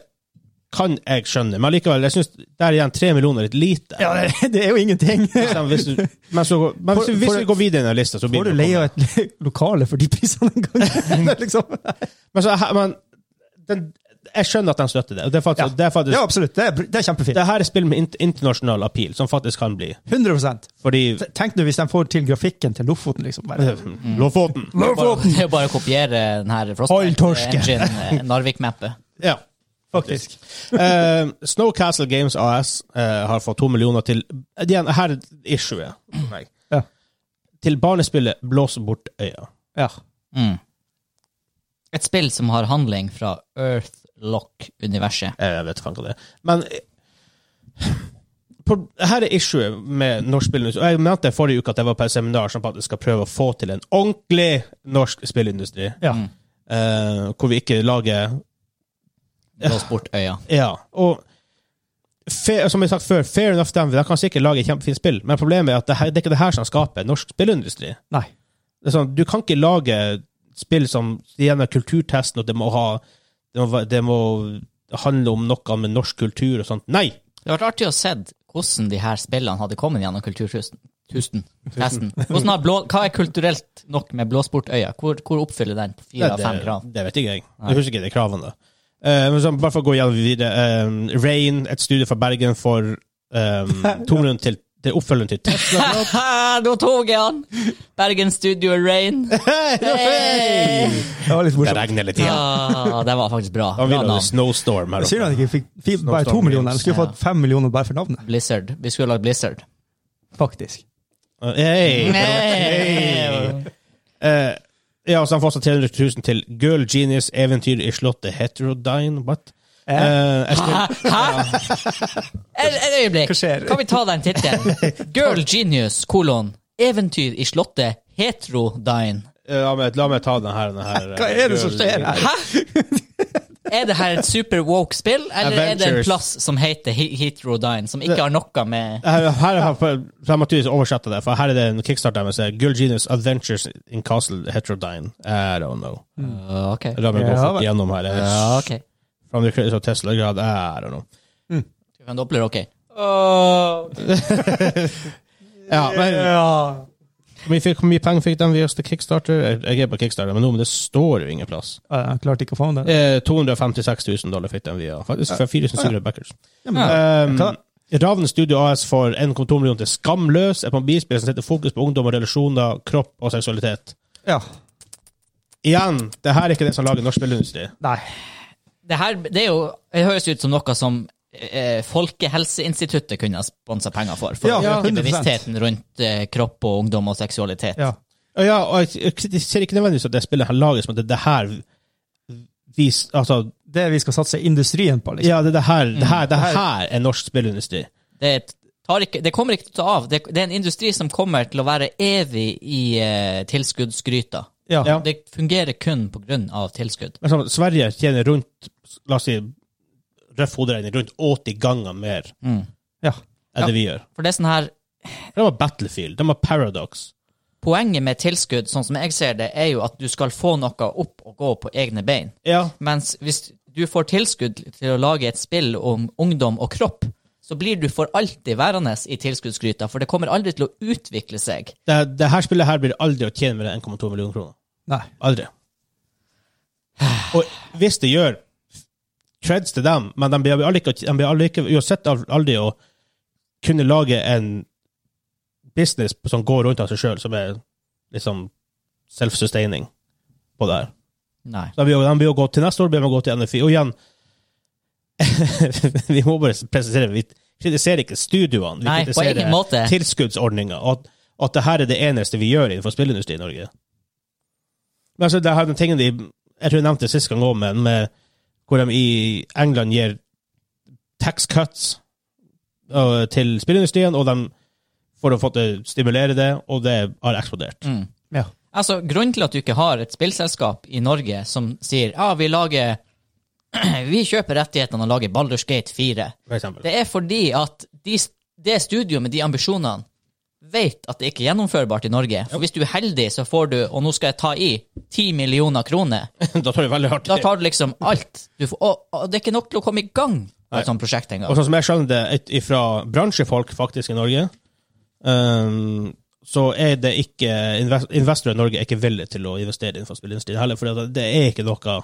kan jeg skjønne, men likevel, jeg syns der igjen tre millioner er litt lite. ja, det, (laughs) det er jo ingenting. Hvis de- hvis du, men så, men hvis, For- hvis for- vi går videre i denne lista, så blir Får du det leie et (laughs) lokale for de prisene (laughs) en gang? Det er liksom. Men, så, her- men den, jeg skjønner at de støtter det. og Det er faktisk, Ja. det er faktisk Ja, absolutt. Det er, br- det er kjempefint. det her er spill med int- internasjonal appeal, som faktisk kan bli. 100 Fordi Tenk nå hvis de får til grafikken til Lofoten, liksom. Bare. Lofoten! Bare- Det er jo bare å kopiere den her Hold torsken. Frostbite-engine, Narvik-mappet. Ja, faktisk. (laughs) Eh, Snow Castle Games AS eh, har fått to millioner til igjen, Her er issuet. Nei. Ja. Til barnespillet Blås bort øya. Ja. Mm. Et spill som har handling fra Earthlock-universet. Eh, Jeg vet faen hva det er. Men eh, på, her er issuet med norsk spillindustri. Og Jeg nevnte forrige uke at jeg var på et seminar som faktisk skal prøve å få til en ordentlig norsk spillindustri. Ja. Mm. Eh, hvor vi ikke lager Blås bort øya. Ja, og fair, som jeg har sagt før, fair enough dem, de kan sikkert lage kjempefint spill, men problemet er at det, her, det er ikke det her som skaper norsk spillindustri. Nei. Det er sånn, du kan ikke lage spill som gjennom kulturtesten, og det må ha det må, va- det må handle om noe med norsk kultur og sånt. Nei! Det hadde vært artig å se hvordan de her spillene hadde kommet gjennom kulturhusen. Tusen. Testen. Hvordan har blå, hva er kulturelt nok med Blåsportøya? Hvor, hvor oppfyller den på fire av det, fem krav? det vet ikke jeg. Jeg husker ikke de kravene. Eh, men sånn, bare for å gå gjennom videre. eh, Rain, et studie fra Bergen for um, tonen til, til oppfølgeren til (laughs) Tesla. Nå tok jeg han! Bergen Studio Rain. Hey! Det var litt Det morsomt. regner hele tida. Ja, det var faktisk bra. Da bra vil ha navn. snowstorm her Synd oppe. at de ikke fikk fi- bare to millioner. De skulle fått fem millioner bare for navnet, Blizzard. Vi skulle lagd Blizzard. faktisk. Uh, Hey. Hey. Eh, ja, så han får også 300 000 til Girl Genius Eventyr i Slottet Heterodyne. What? Eh, jeg spiller- Et, et øyeblikk. Hva skjer? Kan vi ta den tittelen? Girl Genius, kolon, eventyr i slottet Heterodyne. Eh, la, meg, la meg ta den her. Den her eh, Hva er det som Girl- skjer her? Hæ? Er det her et super woke spill, eller er det en Adventures. plass som heter He- Heatrodine, som ikke har noe med Her, her har så jeg må tydeligvis oversette det, for her er det en kickstarter med seg Gull Genius Adventures in Castle Heterodyne. I don't know. Uh, Ok. La meg gå Ja, fort vel. gjennom her. Ja, ok. From the creators of Tesla God, I don't know. Du kan doble det, ok. Ja, men Ja. vi fikk, Hvor mye penger fikk de via oss til Kickstarter? Jeg- Jeg er på Kickstarter, men nå men det står jo ingen plass. Jeg klarte ikke å få den. Eh, 256 000 dollar fikk de via faktisk for 4700 backers. Ja, men, Um, hva da? Ravn Studio AS får 1,2 millioner til Skamløs, et mobilspill som setter fokus på ungdom og relasjoner, kropp og seksualitet. ja. Igjen, det her er ikke det som lager norsk spillindustri. Nei. Det her det er jo, det høres ut som noe som eh, Folkehelseinstituttet kunne ha sponsa penger for, for Ja, å øke 100%. bevisstheten rundt eh, kropp og ungdom og seksualitet. Ja. Og Ja, og jeg- jeg kritiserer ikke nødvendigvis at det spillet her lages, men det er det her vi, altså, Det vi skal satse industrien på, liksom. Ja, det er det her, det her, det her er norsk spillindustri. Det, tar ikke, det kommer ikke til å ta av. Det, det er en industri som kommer til å være evig i eh, tilskuddsgryta. Ja. Ja. Det fungerer kun pga. tilskudd. Men sånn, Sverige tjener rundt La oss si røff hoderegning rundt 80 ganger mer Mm. Ja. enn Ja. det vi gjør. For det er sånn her De har Battlefield, de har Paradox. Poenget med tilskudd, sånn som jeg ser det, er jo at du skal få noe opp og gå på egne bein. Ja, Mens hvis du får tilskudd til å lage et spill om ungdom og kropp, så blir du for alltid værende i tilskuddsgryta, for det kommer aldri til å utvikle seg. det, det her spillet her blir aldri å tjene mer enn 1,2 millioner kroner. Nei. Aldri. Og hvis det gjør creds til dem, men de blir aldri, de blir aldri, ikke- uansett aldri å kunne lage en business som går rundt av seg sjøl, som er liksom self-sustaining på det her. Nei. Så De blir, jo- de blir jo gått til neste år, blir de gått til NFI. Og igjen, (laughs) vi må bare presisere, vi kritiserer ikke studioene, vi Nei, på kritiserer ingen måte. tilskuddsordninger, og at, at det her er det eneste vi gjør innenfor spillindustri i Norge. Men altså, det her er den tingen de, jeg tror jeg nevnte det siste gang også, men med hvor de i England gir tax cuts øh, til spillindustrien, og de for å få til å stimulere det, og det har eksplodert. Mm. Ja. Altså, Grunnen til at du ikke har et spillselskap i Norge som sier ja, vi lager (clears throat) Vi kjøper rettighetene og lager Baldur's Gate 4, For eksempel. det er fordi at de, det studioet med de ambisjonene vet at det ikke er gjennomførbart i Norge. For hvis du er heldig, så får du, og nå skal jeg ta i, 10 millioner kroner. (laughs) da tar det veldig hardt. Da tar du liksom alt. Du får, og, og det er ikke nok til å komme i gang på et sånt prosjekt engang. Og sånn som jeg skjønner det et, fra bransjefolk faktisk i Norge, ehm, så er det ikke invest, investorer i Norge er ikke villige til å investere innenfor spillindustrien heller, for det er ikke noe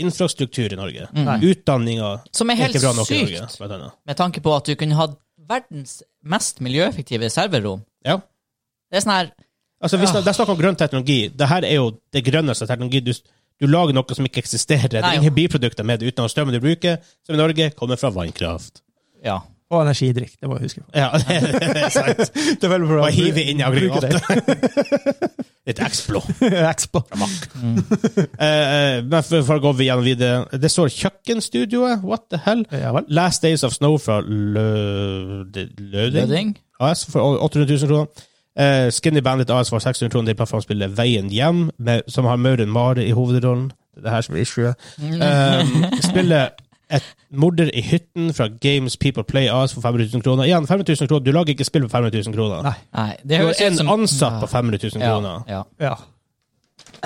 infrastruktur i Norge. Utdanninga Som er er helt ikke bra nok i Norge. altså. sykt. blant annet. Med tanke på at du kunne hatt verdens mest miljøeffektive serverrom. Ja. Det er sånn her Altså, hvis det, det er snakk om grønn teknologi. Dette er jo det grønneste teknologi. Du, du lager noe som ikke eksisterer. Det Nei, er jo. ingen biprodukter med det, uten at strømmen du bruker, som i Norge kommer fra vannkraft. Ja. Og energidrikk. Det må jeg huske på. (laughs) Ja, (laughs) det er sant. Det er veldig bra. Og hive inn i (laughs) Bruker det. aggregatet. Et Explo. Expo. Eh, eh, men for, for å gå gjennom videre Det står kjøkkenstudioet. What the hell? Ja vel. Last Days of Snow fra Lø- de- Løding Løding. AS for over 800 000 kroner. Eh, Skinny Bandit AS for 600 kroner til plattformspillet Veien hjem, med, som har Mauren Mare i hovedrollen. Det er det her som er issue. Mm. Eh, spillet Et morder i hytten fra Games People Play AS for 500 000 kroner. Igjen, 500 000 kroner. Du lager ikke spill for 500 000 kroner. Nei. Nei, det Du høres har ut en som ansatt på 500 000 ja, kroner. ja. Ja.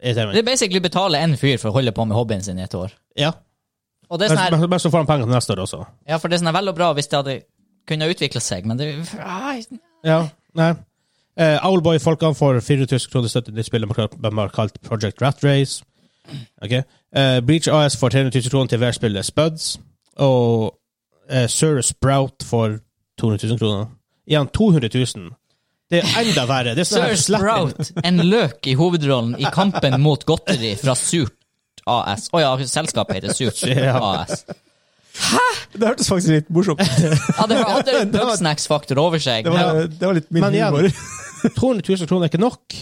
Det Irriterende. er basically å betale en fyr for å holde på med hobbyen sin i et år. Ja. Og det er sånn her, Men, men så får han penger til neste år også. Ja, for det er sånn vel og bra hvis det hadde kunnet utvikle seg, men det Ai, Ja, nei. Eh, Owlboy-folkene får 4000 kroner støtte til spillet de har kalt Project Rat Race. Ok. Eh, Breach AS får 300 000 kroner til hver spillet Spuds. Og eh, Sir Sprout får 200 000 kroner. Igjen 200 000. Det er enda verre. Det er sånn Sir (laughs) her slett- Sprout, en løk i hovedrollen i kampen mot godteri fra Surt AS. Å ja, selskapet heter Surt AS. Det hørtes faktisk litt morsomt ut. Ja, det hadde en Bugsnax-faktor over seg. Det, var- det var litt min Men igjen- (laughs) humor. 200 000 kroner er ikke nok.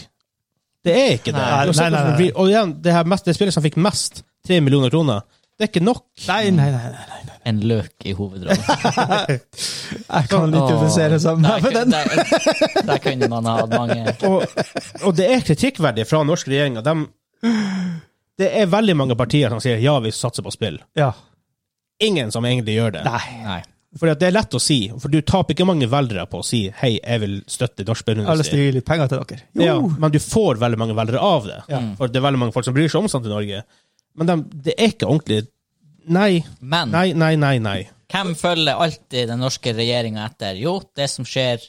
Det er ikke det. Nei, Og så- nei, nei, nei. Og igjen, det, her mest, det spillet som fikk mest, 3 millioner kroner, det er ikke nok. Nei, nei, nei. nei. En løk i hovedrollen. Jeg Sånn- kan ikke identifisere seg Der, med ku- den. der, der kunne man ha hatt mange og, og det er kritikkverdig fra norsk regjering. at De, Det er veldig mange partier som sier ja, vi satser på spill. Ja. Ingen som egentlig gjør det. Nei. Nei. For det er lett å si, for du taper ikke mange velgere på å si hei, jeg vil støtte norsk Alle spillindustri. skal gi litt penger til dere. Jo! Ja, men du får veldig mange velgere av det. Ja. For det er veldig mange folk som bryr seg om sånt i Norge. Men dem- det er ikke ordentlig Nei, Men nei, nei, nei. nei. hvem følger alltid den norske regjeringa etter? Jo, det som skjer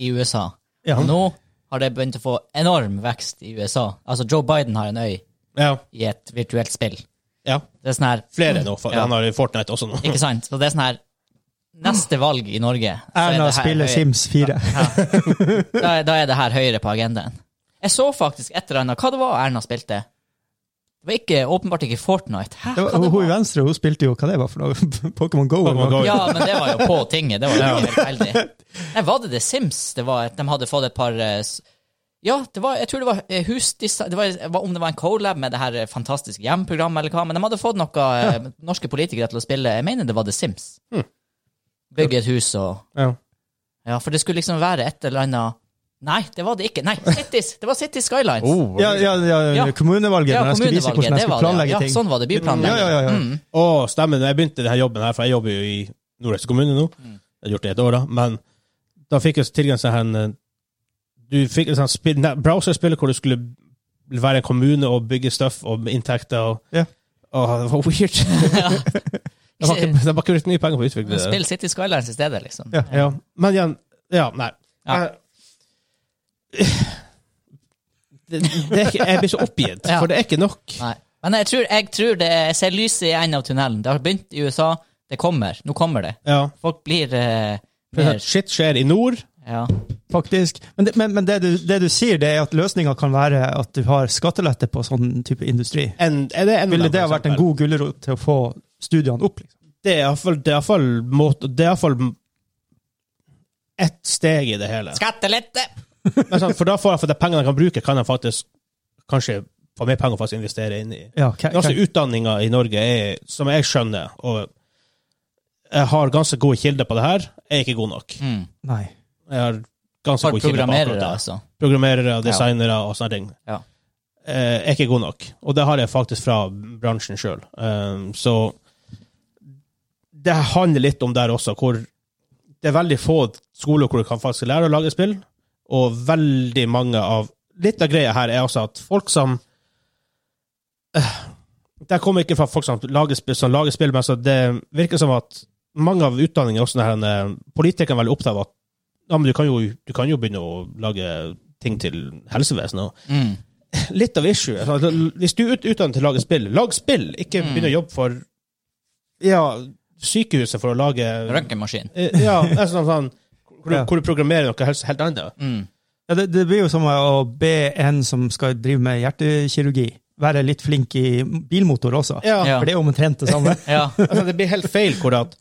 i USA. Ja. Og nå har det begynt å få enorm vekst i USA. Altså, Joe Biden har en øy Ja. i et virtuelt spill. ja. Det er sånn her Flere nå. For Ja. Han har Fortnite også nå. Ikke sant? Så det er sånn her Neste valg i Norge så er Erna det her spiller høy- Sims 4. (laughs) da, da er det her høyere på agendaen. Jeg så faktisk et eller annet Hva det var Erna spilte? Det var ikke, åpenbart ikke Fortnite. Hæ, Det var, hva det hun i var? venstre hun spilte jo hva det var for noe. (laughs) Pokémon Go. eller Pokémon noe. Go. Ja, men det var jo på tinget. Det var jo helt heldig. Nei, var det The Sims? Det var, et- de hadde fått et par eh, s- Ja, det var, jeg tror det var eh, husdesign det var, det var- Om det var en colab med det her eh, fantastiske hjemprogrammet eller hva, men de hadde fått noe eh, norske politikere til å spille Jeg mener det var The Sims. Hm. Bygge et hus og Ja. Ja, for det skulle liksom være et eller annet Nei, det var det ikke. Nei, Cities! Det var Cities Skylines. Oh. Ja, ja, ja, Ja. kommunevalget. Ja, når jeg skulle vise hvordan kommunevalget. Det jeg skulle var det. planlegge Ja, ting. sånn var det. Ja, Byplanlegging. ja, ja, ja. Mm. Å, stemmer. Når jeg begynte denne jobben her, for jeg jobber jo i Nordøst kommune nå, Mm. jeg har gjort det i et år, da, men da fikk jeg tilgang til en eh, Du fikk sånn et sånt spill, ne- browserspill hvor du skulle være en kommune og bygge stuff og inntekter og Ja. Åh, det var (laughs) weird. De har ikke, de har ikke brukt mye penger på å utvikle det. Spill City Skylines i stedet, liksom. Ja. Ja, men igjen Ja, nei. Ja. Eh, (sighs) Det, det er ikke, jeg blir så oppgitt, Ja. for det er ikke nok. Nei. Men jeg tror, jeg tror det Jeg ser lyset i enden av tunnelen. Det har begynt i USA. Det kommer. Nå kommer det. Ja. Folk blir eh, mer Shit skjer i nord. Ja. Faktisk. Men, det, men, men det, du, det du sier, det er at løsninga kan være at du har skattelette på sånn type industri. En, er det en Ville det ha for vært en eksempel? god gulrot til å få studiene opp? Liksom? Det er iallfall Det er iallfall måte- det er iallfall ett steg i det (laughs) hele. Skattelette! Men sånn, For da får jeg for de pengene jeg kan bruke, kan jeg faktisk kanskje få mer penger for å investere inn i. Ja, hva- Men Altså, hva- Utdanninga i Norge er, som jeg skjønner, og jeg har ganske gode kilder på det her, er ikke god nok. Mm. nei. Jeg har ganske For gode kilder på akkurat programmerere, det. altså. Programmerere, designere og sånne ting. Ja. Eh, er ikke god nok. Og det har jeg faktisk fra bransjen sjøl. så det handler litt om der også, hvor det er veldig få skoler hvor du kan faktisk lære å lage spill, og veldig mange av Litt av greia her er også at folk som Eh, Det kommer ikke fra folk som lager spill, som lager spill men altså det virker som at mange av utdanningene er også sånn her, eh, Politikere er veldig opptatt av at ja, men du kan, jo, du kan jo begynne å lage ting til helsevesenet. og Mm. Litt av issue. er sånn at Hvis du er utdannet til å lage spill, lag spill! Ikke Mm. begynn å jobbe for ja, sykehuset for å lage Røntgenmaskin. Eh, Ja, altså sånn, sånn hvor, du- Ja. hvor du programmerer noe helt, helt annet. Mm. Ja, det, det blir jo som å be en som skal drive med hjertekirurgi, være litt flink i bilmotor også. Ja, Ja. For det er jo omtrent det samme. Ja. altså Det blir helt feil hvor at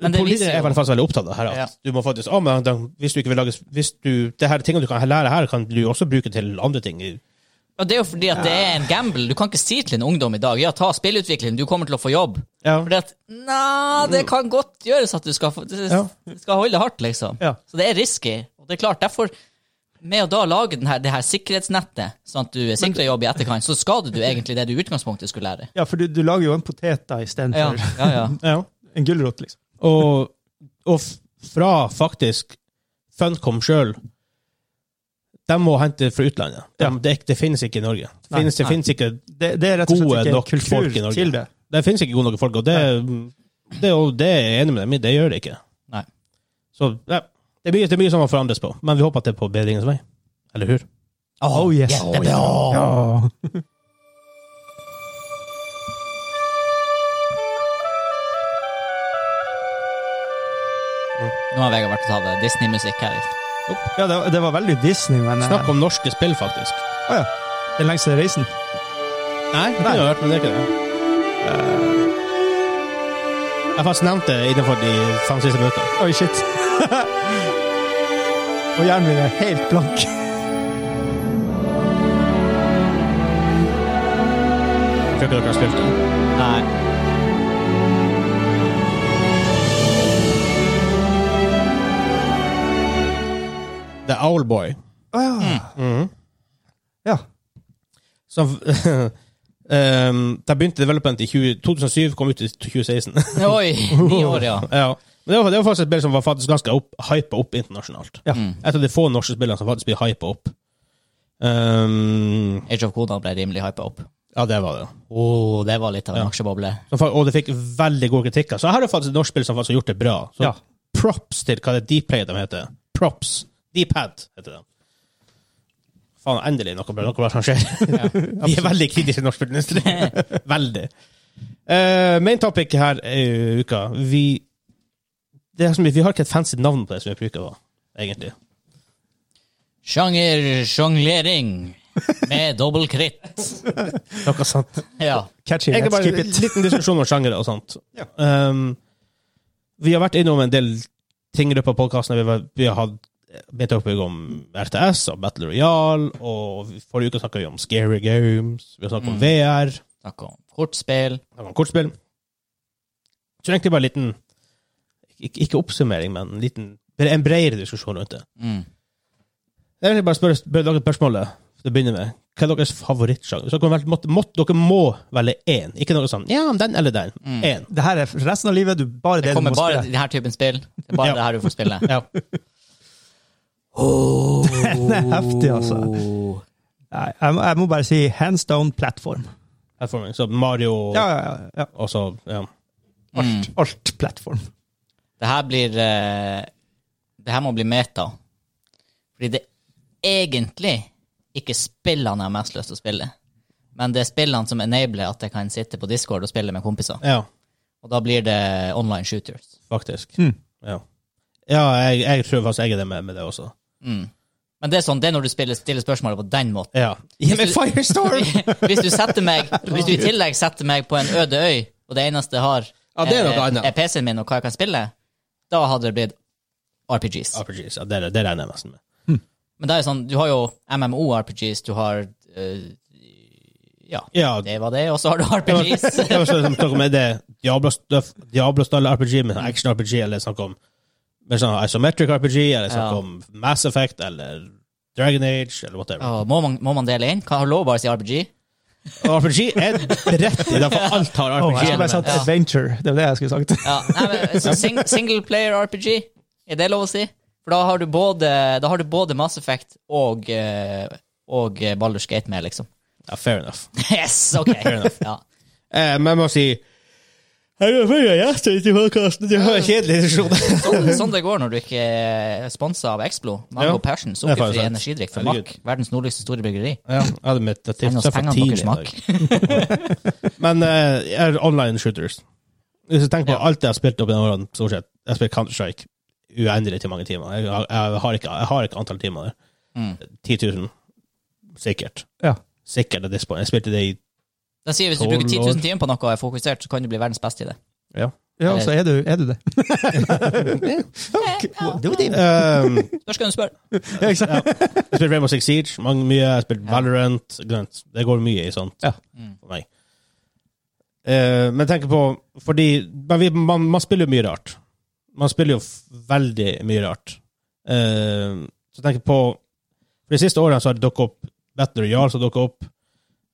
Men det Politikere viser er jo vel faktisk veldig opptatt av her, at Ja. du må faktisk ah, men, da, Hvis du ikke vil lage Hvis du Det her tingene du kan lære her, kan du også bruke til andre ting. i- Og det er jo fordi at det er en gamble. Du kan ikke si til en ungdom i dag ja, ta spillutvikling, du kommer til å få jobb. Ja. Fordi at Nei, det Mm. kan godt gjøres at du skal, få, det, Ja. det skal holde hardt, liksom. Ja. Så det er risky. Og det er klart, derfor med å da lage den her, det her sikkerhetsnettet, sånn at du er sikra jobb i etterkant, så skader du egentlig det du i utgangspunktet skulle lære. Ja, for du, du lager jo en potet da Ja, istedenfor ja, ja. Ja. en gulrot, liksom. Og, og f- fra faktisk Funcom sjøl De må hente fra utlandet. De, Ja. det, er ikke- det finnes ikke i Norge. Det Nei, finnes, det nei. finnes ikke Det, det er rett og Gode slett ikke nok folk i kultur Norge. til det. Det finnes ikke gode nok folk, og det, det, og det er jeg enig med dem i. Det gjør det ikke. Nei. Så ja, det, er mye, det er mye som må forandres på, men vi håper at det er på bedringens vei. Eller hur? Oh yes. yeah, det- åh. Ja. Nå har Vegard vært og tatt Disney-musikk her. Ja, det, var- det var veldig Disney, men eh, Snakk om norske spill, faktisk. å ja. Den lengste reisen. Nei, det har jeg hørt, men det er ikke det. Jeg har faktisk nevnt det innenfor de fem siste minuttene. Oi, shit. Og hjernen min er helt blank. Jeg tror ikke dere har spilt det. Nei. The Owlboy. Å ja. Mhm. (laughs) ja. Som Um, de begynte development i 20, 2007, kom ut i 2016. Oi, ni år, ja. ja. Men det var, det var faktisk et spill som var faktisk ganske opp, hypet opp internasjonalt. Ja. Mm. Et av de få norske spillene som faktisk blir hypet opp. Um, Age of Conan ble rimelig hypa opp. ja, det var det. Oh, det var litt av en aksjeboble. Som fa- Og det fikk veldig gode kritikker. Så her er faktisk et norsk spill som faktisk har gjort det bra. Så Ja. props til hva det er Dplay de heter. Props. Dpad heter de. Faen, endelig noe bra, noe bra som skjer. (laughs) Vi er veldig kritiske til norsk spillindustri. (laughs) veldig. Eh, main topic her i uka Vi, det er som, vi har ikke et fancy navn på det som vi bruker, da, egentlig. Sjanger sjonglering med dobbel kritt. Noe sant. Ja. Catchy, Egentlig let's bare keep en it. liten diskusjon om sjangere og sånt. Ja. Um, vi har vært innom en del ting i løpet av podkasten. Vi, var- vi har hatt begynt å snakke om RTS og Battle Royale, og forrige uke snakka vi om Scary Games, vi har snakket om Mm. VR, Snakk om kortspill. snakket om kortspill. Så egentlig bare en liten ikke, ikke oppsummering, men en, liten, en bredere diskusjon rundt det. Mm. Jeg vil bare spørre, spørre dere spørsmålet til å begynne med. Hva er deres favorittsjanger? Så dere, vel- måtte, måtte, dere må velge én, ikke noe sånn ja, den eller den. Mm. Én. Det her er for resten av livet du, bare det, Det du må kommer bare spille. denne typen spill. Det er bare Ja. det her du får spille. (laughs) Ja. Den er heftig, altså. Nei, Jeg, må- jeg må bare si hands down platform. Platforming. Så Mario Ja, ja, ja, ja. og så ja. Mm. Alt, alt platform. Det her blir eh, Det her må bli meta. Fordi det er egentlig ikke spillene jeg har mest lyst til å spille, men det er spillene som enabler at jeg kan sitte på Discord og spille med kompiser. ja, Og da blir det online shooters. faktisk. Mm. Ja, ja jeg, jeg tror faktisk jeg er det med, med det også. Mm. Men det er sånn, det er når du spiller, stiller spørsmålet på den (laughs) måten. Ja. Gi meg Firestorm! Hvis du, setter meg, hvis du i tillegg setter meg på en øde øy, og det eneste jeg har, Ja, det er noe eh, annet. er PC-en min og hva jeg kan spille, da hadde det blitt RPGs. RPGs, ja, det, det regner jeg nesten med. Men det er jo sånn, du har jo MMO-RPGs, du har eh, Ja, Ja, det det var det, og så har du RPGs. var sånn som snakk om er det Diablo-style RPG med sånn action-RPG, eller snakk om med sånn isometric RPG, eller snakk Ja. om Mass Effect, eller Dragon Age, eller whatever. (laughs) Ja, må, man, må man dele inn? Kan har lov bare å si RPG? Og RPG er bredt i det, for alt har Oh, jeg skulle bare RPG. sagt adventure. Det var det jeg skulle sagt. (laughs) Ja, nei, men så sing, Single player RPG, er det lov å si? For da har du både, da har du både Mass Effect og, eh, og eh, Baldur's Gate med, liksom. (laughs) Ja, fair enough. Yes, ok. Ja. Eh, men jeg må si Jeg er for gjester i podkasten. Det var en kjedelig diskusjon. Sånn, sånn det går når du ikke er sponsa av Explo. Mango Ja. Passion, er faktisk sukkerfri sant. energidrikk fra Herregud. Mack. Verdens nordligste store bryggeri. Ja, jeg hadde mitt det Send oss tipset for pengene tidlig deres i dag. smak. Men eh, jeg er online shooters. Hvis jeg tenker på alt jeg har spilt opp i årene, stort sett Jeg har spilt Counter-Strike uendelig til mange timer. Jeg, har- jeg, har, ikke, jeg har ikke antall timer der. Mm. 10 000. Sikkert. Ja. Sikkert at this point. Jeg spilte det i Den sier hvis du Tolv bruker 10 000 år. timer på noe og er fokusert, så kan du bli verdens beste i det. Ja, så er du, er du det. det var din. um, (laughs) Da skal du spørre. Ja, ikke sant? Jeg spilte Rainbow Six Siege mange, mye. Jeg spilte Ja. Valorant. Grønt. Det går mye i sånt. Ja. Mm. For meg. Eh, men tenk på Fordi man, vi- man, man spiller jo mye rart. Man spiller jo f- veldig mye rart. Eh, så tenk på For de siste årene så har det dukket opp Battle Royale som dukket opp.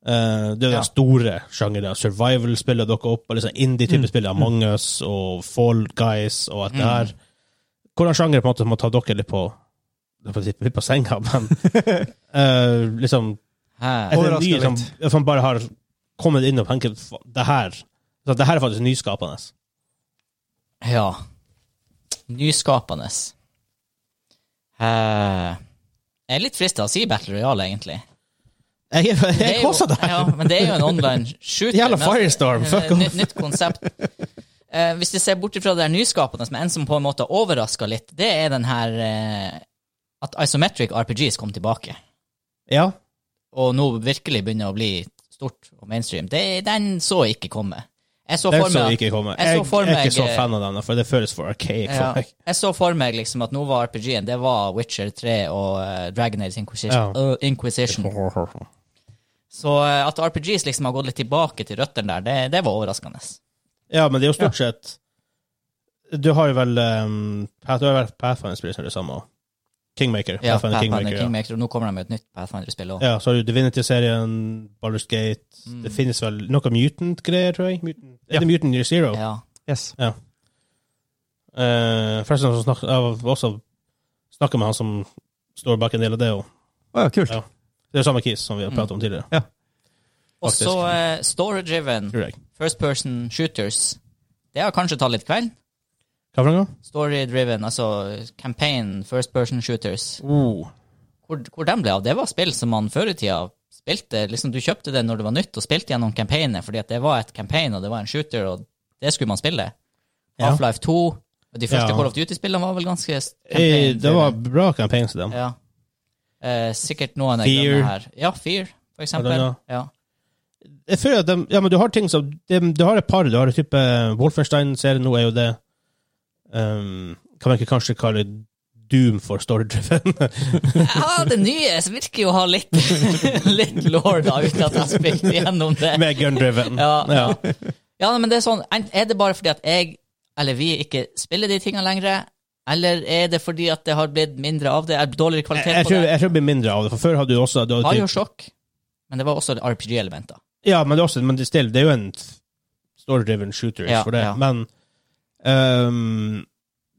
Eh, det er jo Ja. den store sjangeren. Survival-spillet dukket opp. Og liksom indie-type Mm. spill. Among Us og Fall Guys og alt det her. Mm. Hvordan sjanger på en måte må ta dere litt på jeg holdt på å si litt på senga, men eh, liksom Hæ? Er det en Overrasker ny som, som bare har kommet inn og tenker "Fa- det her så det her er faktisk nyskapende. Ja. Nyskapende. Hæ? Eh, Jeg er litt frista til å si Battle Royale, egentlig. Jeg, jeg, Det er jo- koser deg! Ja, men det er jo en online shooter. (laughs) Jævla men- altså, eh, Firestorm, fuck off. Nytt, nytt konsept. Eh, hvis vi ser bort fra det der nyskapende, men en som på en måte overrasker litt, det er den her eh, at isometric RPGs kom tilbake. Ja. og nå virkelig begynner å bli stort og mainstream, det, den så jeg ikke komme. Jeg så Den for så meg, ikke komme. jeg så Jeg, for jeg er meg- ikke så fan av den, for det føles for archaic ja, for meg. jeg så for meg liksom at nå var RPG-en, det var Witcher 3 og eh, Dragon Age Inquisition. øh, Inquisition. Så eh, at RPGs liksom har gått litt tilbake til røttene der, det, det var overraskende. Ja, men det er jo stort sett Du har jo vel um, Path- du har vel Pathfinder-spillet som er det samme. Kingmaker. Ja, Pathfinder Pathfinder Kingmaker, Kingmaker, ja. og nå kommer de med et nytt Pathfinder-spill òg. Ja, så har du Divinity-serien, Baldur's Gate Mm. Det finnes vel noe mutant-greier, tror jeg. Mutant, Ja. Er det Mutant Year Zero? Ja. Yes. Eh, forresten, så snak, jeg har også snakket med han som står bak en del av det. Og, Å ja, kult. Ja. det er samme Keys som vi har Mm. pratet om tidligere. Og Faktisk. så eh, story-driven Tror jeg. first person shooters. Det har kanskje tatt litt kvelden. Hva for noe? Story-driven, altså campaign, first person shooters. Oh. Hvor, hvor den ble av? Det var spill som man før i tida spilte. liksom Du kjøpte det når det var nytt, og spilte gjennom campaignet, fordi at det var et campaign, og det var en shooter, og det skulle man spille. Ja. Half-Life 2, og de første Ja. Call of Duty-spillene var vel ganske s- Eh, det var campaign-driven. bra campaigns til dem. ja. eh, Sikkert noen jeg Fear. glemmer her. Ja, Fear, for Ja, eksempel. den, Ja. Jeg føler at dem- ja, men du har ting som dem- Du har et par. Du har et type Wolfenstein-serien, nå er jo det um, Kan man ikke kanskje kalle Doom for story-driven? (laughs) Ja, det nye virker jo å ha litt, (laughs) litt lore, da, uten at jeg har spilt igjennom det. Med gun-driven. Ja. ja. Ja, men det Er sånn, ent- er det bare fordi at jeg, eller vi, ikke spiller de tingene lenger? Eller er det fordi at det har blitt mindre av det? Er det dårligere Jeg, kvalitet jeg, på tror, det? jeg tror det blir mindre av det, for før hadde du også du hadde Var typ- jo sjokk, men det var også RPG-elementer. Ja, men det er, også, men det, still, det er jo en story-driven shooter Ja, for det. ja. Men ehm,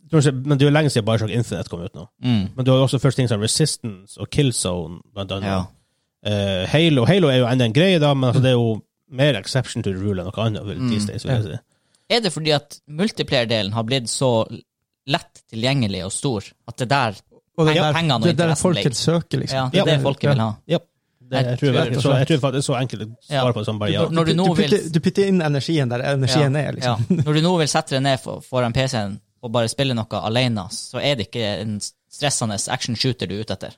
du må si- Men det er jo lenge siden Bioshock Infinite kom ut nå. Mm. Men du har også først ting som Resistance og Killzone, blant annet. Ja. Eh, Halo. Halo er jo enda en greie, da, men altså, det er jo mer exception to the rule enn noe annet. Vil, Mm, these days, vil jeg si. Er det fordi at multiplayer-delen har blitt så lett tilgjengelig og stor, at det der Og det Ja, er pengene der, og det er der interessen ligger. folket søker, liksom. ja, det er det folket vil ha? det, jeg, tror, Jeg jeg, tror- så, jeg tror faktisk det er så enkelt å svare Ja. på det som bare ja. Du, Når du nå du, vil- putter, du putter inn energien der energien er, liksom. ja. Når du nå vil sette deg ned for- foran PC-en og bare spille noe alene, så er det ikke en stressende action-shooter du er ute etter.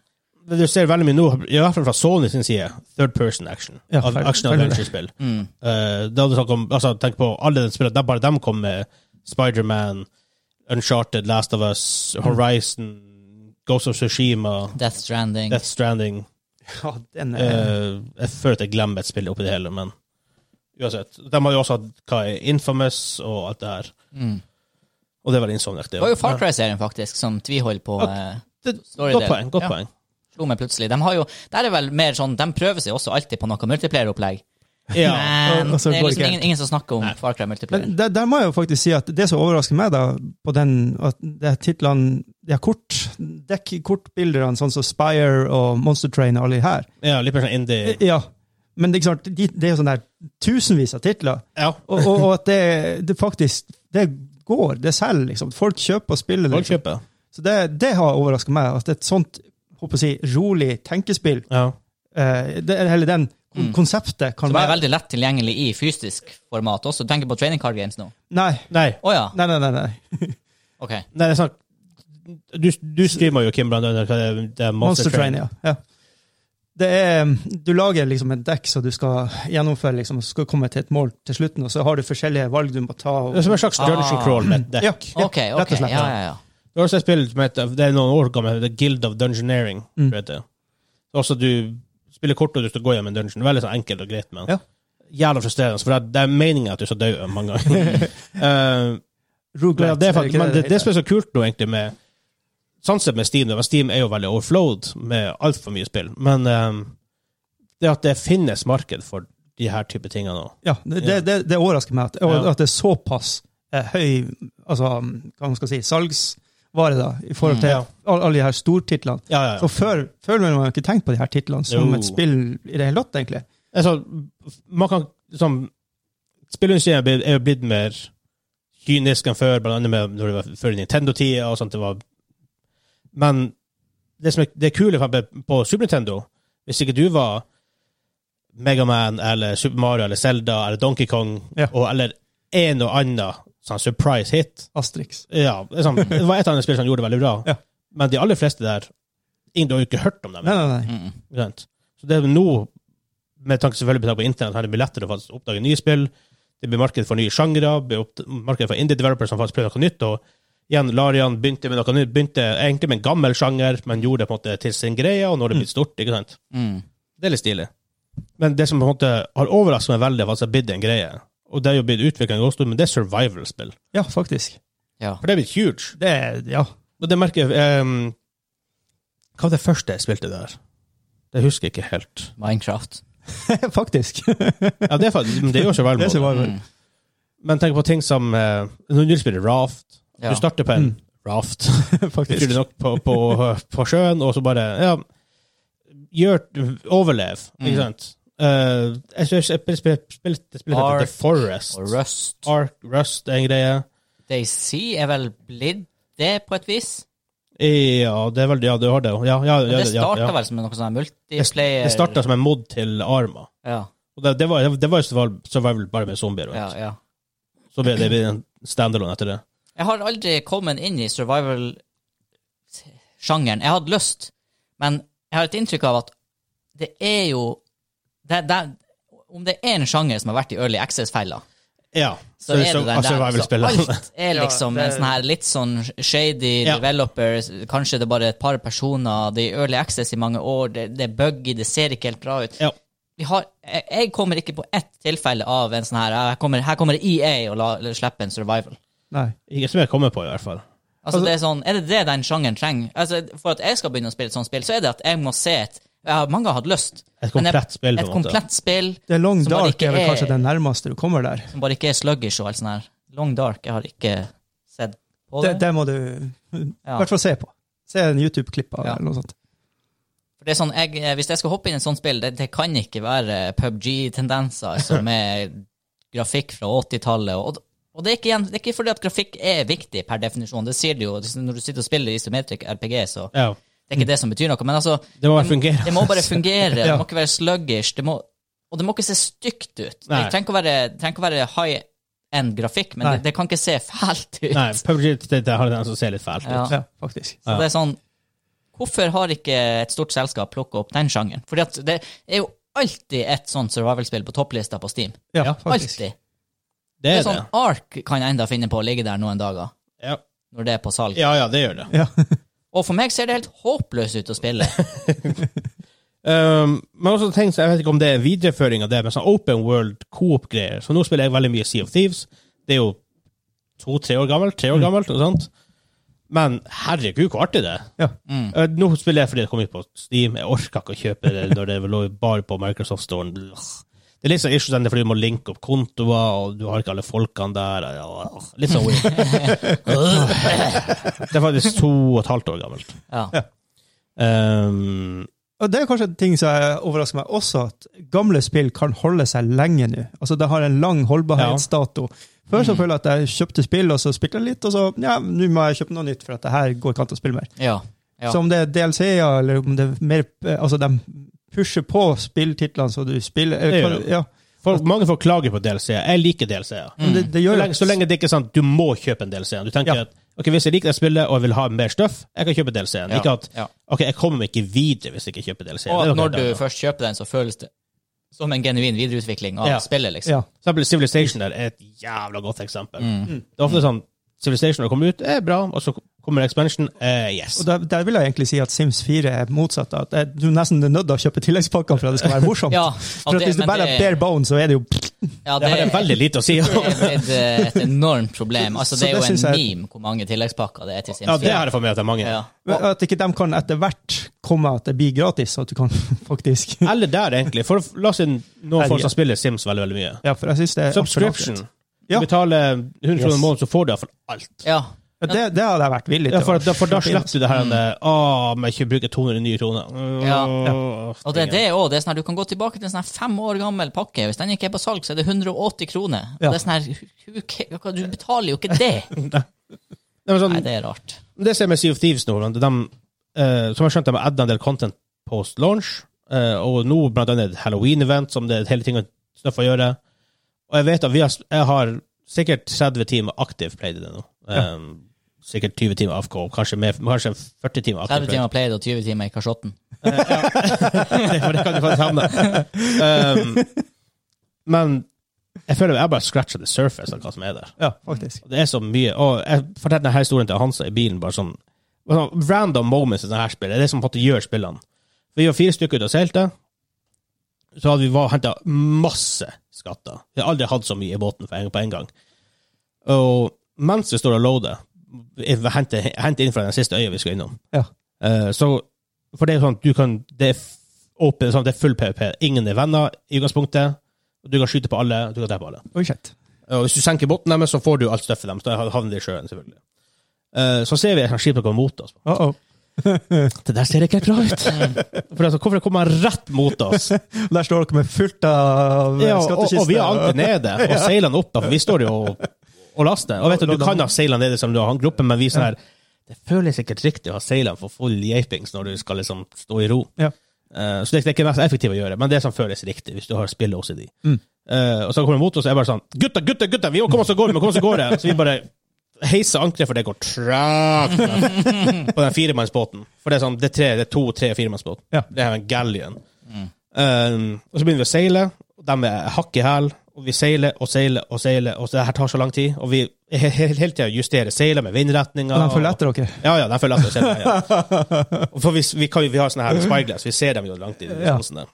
Men Du ser veldig mye nå, i hvert fall fra Sony sin side, third person action. Ja, Av- fair- action fair- adventure-spill. Mm. Eh, da hadde du snakket om, altså, tenk på alle de spillene, det er bare dem kom med Spider-Man, Uncharted, Last of Us, Horizon, Ghost of Tsushima, Death Stranding. Death Stranding. Ja, den Eh, er, jeg føler at jeg glemmer et spill oppi det hele, men uansett. De har jo også hatt hva er Infamous og alt det her. Mm. Og det er vel Insomniac, det. Det var jo Far Cry-serien faktisk som tviholder på Ja. eh, Det- Story Godt del. poeng. godt Ja. poeng. Slo meg plutselig. De har jo, der er vel mer sånn, de prøver seg også alltid på noe multiplayer-opplegg. Ja. (laughs) Men og så det er går det liksom ikke ingen, ingen som snakker om Nei. Far Cry multiplayer. Men der, der må jeg jo faktisk si at det som overrasker meg, da, på den, at det er titlene De har kort, dekk kortbildene, sånn som Spire og Monster Train og alle de her. ja, litt mer sånn indie. Ja, men det er ikke sant, de, det er jo sånn der tusenvis av titler, Ja. og, og, og at det, det faktisk Det går, det selger, liksom. Folk kjøper og spiller det. Folk kjøper. Så det, det har overraska meg, at et sånt håper jeg å si, rolig tenkespill, Ja. eh, det, eller hele den kon- Mm. konseptet, kan Som er være veldig lett tilgjengelig i fysisk format også. Tenk på Training Card Games nå. Nei, Nei, Å ja, nei, nei. nei, nei. ok. Nei, det er snakk du, du streamer jo Kim blant annet. hva Det, er- det er Monster Train, ja. ja. Det er, du lager liksom et dekk som du skal gjennomføre, liksom, skal komme til et mål til slutten, og så har du forskjellige valg du må ta. Det er Og, som en slags dungeon Ah. crawl med et dekk. Ja. Ok, rett ok. og slett, Ja, ja. ja, ja. Det er også et spill som heter Det er noen år gammel, The Guild of Dungeoneering. Mm. tror jeg det. Også du spiller kort og du skal gå hjem en dungeon. Veldig sånn enkelt og greit, men Ja. jævla frustrerende. For det er, det er meningen at du skal dø mange ganger. (laughs) Eh, men ja, det, er Roguelite, faktisk, ikke men det, det heter? som er så kult nå, egentlig, med Sånn sett med Steam, det var- Steam er jo veldig overflowed med altfor mye spill, men eh, det at det finnes marked for de her type tingene nå ja, det, det, det, det overrasker meg at, og Ja. at det er såpass eh, høy altså, hva man skal si, salgsvare da, i forhold til Mm, Ja. alle, alle de her stortitlene. Ja, ja, ja. For før, før ville man jo ikke tenkt på de her titlene som Jo. et spill i det hele tatt, egentlig. Altså, man kan liksom Spillindustrien er blitt- er jo blitt mer kynisk enn før, blant annet med, når det var før Nintendo-tida og sånt. Det var. Men det som er, det er kule for eksempel på Super Nintendo Hvis ikke du var Megaman eller Super Mario eller Zelda eller Donkey Kong Ja. og, eller en og annen sånn surprise hit Asterix. ja, det, er sånn, det var et annet spill som gjorde det veldig bra, Ja. men de aller fleste der Ingen du har jo ikke hørt om dem. Nei, nei, nei. Mm. Ikke sant? Så det er nå, med tanke selvfølgelig på tanke på internett, her det blir lettere å faktisk oppdage nye spill. Det blir marked for nye sjangre, det blir opp- marked for indie-developers som faktisk prøver noe nytt. og igjen, Larian begynte med noe nytt, begynte egentlig med en gammel sjanger, men gjorde det på en måte til sin greie, og nå er det blitt stort. ikke sant? Mm. Det er litt stilig. Men det som på en måte har overrasket meg veldig, er faktisk at det har blitt en greie. Og det er jo blitt utviklet en god stund, men det er survival-spill. Ja, faktisk. (laughs) Ja. For det er blitt huge. Det er, ja. Og det merker jeg ehm, Hva var det første jeg spilte der? Det husker jeg ikke helt. Minecraft. Faktisk. Ja, det, er, faktisk- men det er jo Det er så survival. bare- Mm. Men tenk på ting som eh, Når du spiller raft Ja. Du starter på en Mm. raft, (laughs) utrolig Faktisk. Mm. nok, på, på, på sjøen, og så bare Ja, gjør Overlev, Mm. ikke sant? Eh, jeg synes- jeg spil- spil- spilte spil, Ark The Forest. Og Rust. Ark, Rust, en greie. Daisy er vel blitt det, på et vis? Ja, det er vel Ja, du har det jo. Ja, ja, Men ja, det ja, starta ja. vel som noe sånn multiplayer Det starta som en mod til Arma. ja, Og det, det var jo det var jo survival- survival bare med zombier. ja, vet du. ja. Så ble det ble en standalone etter det. Jeg har aldri kommet inn i survival-sjangeren. Jeg hadde lyst, men jeg har et inntrykk av at det er jo det, det, Om det er en sjanger som har vært i Early Access-fella, Ja. så er det den der. Så survival-spillene. alt er (laughs) Ja, liksom det- en sånn her litt sånn shady Ja. developer, kanskje det er bare et par personer, det er i Early Access i mange år, det, det er buggy, det ser ikke helt bra ut. Ja. Vi har, jeg, jeg kommer ikke på ett tilfelle av en sånn her Her kommer, her kommer EA og la, slipper en survival. Nei. Ikke som jeg kommer på, i hvert fall. Altså, Altså- det er, sånn, er det det den sjangeren trenger? Altså, for at jeg skal begynne å spille et sånt spill, så er det at jeg må se et ja, Mange har hatt lyst. Et men jeg- komplett spill, på Et en måte. komplett spill The Long Som bare Dark ikke er vel er- kanskje den nærmeste du kommer der. som bare ikke er sluggish og alt sånt her. Long Dark, jeg har ikke sett på Det, det. det må du i Ja. hvert fall se på. Se en YouTube-klipp av det, Ja. eller noe sånt. For det er sånn, jeg, eh, Hvis jeg skal hoppe inn i et sånt spill, det, det kan ikke være PubG-tendenser (laughs) som er altså, grafikk fra 80-tallet. Og, og det, er ikke, igjen- det er ikke fordi at grafikk er viktig per definisjon. Det sier du jo når du sitter og spiller isometric RPG, så Ja. det Mm. er ikke det som betyr noe. Men altså, Det må bare Det- fungere. Det må bare fungere. Ja. Det må ikke være sluggish. Det må, og det må ikke se stygt ut. Nei. Det trenger ikke å være, trenger ikke å være high end grafikk, men Nei. det, det kan ikke se fælt ut. (laughs) Nei, PUBG det, det har den som ser litt fælt ut. Ja. Ja, faktisk. Så Ja. det er sånn Hvorfor har ikke et stort selskap plukka opp den sjangeren? Fordi at det er jo alltid et sånt survival-spill på topplista på Steam. Ja, Ja, faktisk. Alltid. Det Det er er sånn det. Ark kan jeg enda finne på å ligge der noen dager, Ja. når det er på salg. ja, ja, det gjør det. Ja. Og for meg ser det helt håpløst ut å (laughs) spille. Um, men også ting, som- jeg vet ikke om det er en videreføring av det, men sånn open world coop-greier. Så nå spiller jeg veldig mye Sea of Thieves. Det er jo to-tre år gammelt, tre år gammelt, noe sånt. Men herregud, hvor artig det er. Ja. Mm. Eh, Nå spiller jeg fordi det kom ut på Steam. Jeg orka ikke å kjøpe det når det lå bare på Microsoft-storen. Det er litt sånn issue den er fordi du må linke opp kontoer, og du har ikke alle folkene der. og- og- Litt sånn weird. det er faktisk to og et halvt år gammelt. Ja. Um, Og det er kanskje en ting som jeg overrasker meg også, at gamle spill kan holde seg lenge nå. Altså, det har en lang holdbarhetsdato. Før så føler jeg at jeg kjøpte spill, og så spilte jeg litt, og så ja, nå må jeg kjøpe noe nytt, for at det her går ikke an å spille mer. ja. Ja. Så om det er DLC-er, eller om det er mer Altså, de pusher på spilltitlene så du spiller Det gjør kan- de. ja. folk- mange folk klager på DLC-er. Jeg liker DLC-er. Men Det, det Så, gjør lenge- så lenge det ikke er sånn du må kjøpe en DLC. Du tenker Ja. at ok, hvis jeg liker det spillet og jeg vil ha mer stuff, jeg kan kjøpe DLC-en. Ikke at ja. ok, jeg kommer meg ikke videre hvis jeg ikke kjøper DLC-en. Og Det er noe at når helt du annet. først kjøper den, så føles det som en genuin videreutvikling av Ja. spillet, liksom. ja. For eksempel Civilization der er et jævla godt eksempel. Mm. Det er ofte sånn Civilization når det kommer ut, er bra, og så kommer expansion, eh, yes. Og der, der vil jeg egentlig si at Sims 4 er motsatt. At eh, du nesten er nødt til å kjøpe tilleggspakker for at det skal være morsomt. Ja, for at det- hvis du men bare det- er bare bones, så er det jo Ja, Det har jeg veldig lite å (laughs) si om. det er et, eh, et enormt problem. Altså, Så det er det jo en synes jeg- meme hvor mange tilleggspakker det er til Sims Ja, det 4. har jeg fått med at det er mange. Ja. At ikke de kan etter hvert komme at det blir gratis, så at du kan faktisk Eller der, egentlig. For la oss si noen Herregud. folk som spiller Sims veldig veldig mye. Ja, for jeg synes det er Subscription. altfor Du Ja. betaler 100 kroner i Yes. måneden, så får du iallfall alt. Ja. Ja, det, det hadde jeg vært villig Ja, til. for, da- for da å kjøpe inn. slipper du det her med Å, men ikke bruke 200 nye kroner. Ja. Åh, Og det er det òg. Sånn her, du kan gå tilbake til en sånn her fem år gammel pakke. Hvis den ikke er på salg, så er det 180 kroner. Og Ja. det er sånn her, who ca- Du betaler jo ikke det! Nei, men Nei, sånn, det er rart. Det ser jeg med Sea of Thieves nå. men De, eh, som jeg skjønte, de har adda en del content post launch. eh, og nå blant annet et Halloween-event, som det er hele ting og stuff å gjøre. Og jeg vet at vi har, jeg har sikkert 30 timer aktiv played i det nå. Um, Sikkert 20 timer AFK, kanskje, mer, kanskje 40 timer aktiv 30 play. timer played og 20 timer i kasjotten. For (laughs) det kan du faktisk (laughs) havne. Um, men jeg føler jeg bare scratcha the surface av hva som er der. Ja, faktisk. Og Det er så mye. Og jeg fortalte denne historien til Hansa i bilen. bare sånn, bare sånn Random moments i dette spillet. Det er det som på en måte gjør spillene. Vi var fire stykker ute og seilte. Så hadde vi henta masse skatter. Vi har aldri hatt så mye i båten for en, på en gang. Og mens vi står og loader, henter henter inn fra den siste øya vi skal innom, Ja. eh, så For det er jo sånn at du kan Det er f- åpen, sånn, det er full PVP. Ingen er venner i utgangspunktet. og Du kan skyte på alle, du kan drepe alle. Oi, shit. Eh, Og hvis du senker båten deres, så får du alt støffet deres. Da havner de i sjøen, selvfølgelig. Eh, Så ser vi at skipet kommer mot oss. Uh -oh. Det der ser ikke helt bra ut. (laughs) For altså, hvorfor kommer han rett mot oss? Der står dere med fullt (laughs) av Ja, og, skattkister. og vi har anker nede, (laughs) og seilene oppe, for vi står jo og, og laster. Og vet du, du kan ha seilene nede som du har gruppen, men vi sånn her Det føles ikke riktig å ha seilene for full japings når du skal liksom stå i ro. Ja. Eh, så det, det er ikke det mest effektive å gjøre, men det som føles riktig, hvis du har spillet hos de. Mm. Eh, og så kommer de mot oss, og jeg bare sånn Gutta, gutta, gutta! Vi må komme oss av gårde! vi må komme oss av gårde. Så vi bare heiser ankeret, for det går trakt (laughs) på den firemannsbåten. For det er sånn, det er, tre, det er to, tre firemannsbåt. Ja. Mm. Det er en galleon. Um, og så begynner vi å seile, og de er hakk i hæl. Og vi seiler og seiler og seiler, og så det her tar så lang tid. Og vi he- he- hele tida justerer seiler med vindretninger. Og de følger etter dere. Ja, ja, de følger etter. og seiler, (laughs) Ja. Og For vi, vi, kan, jo- vi har sånne her spyglass, vi ser dem jo langt i Ja. distansene.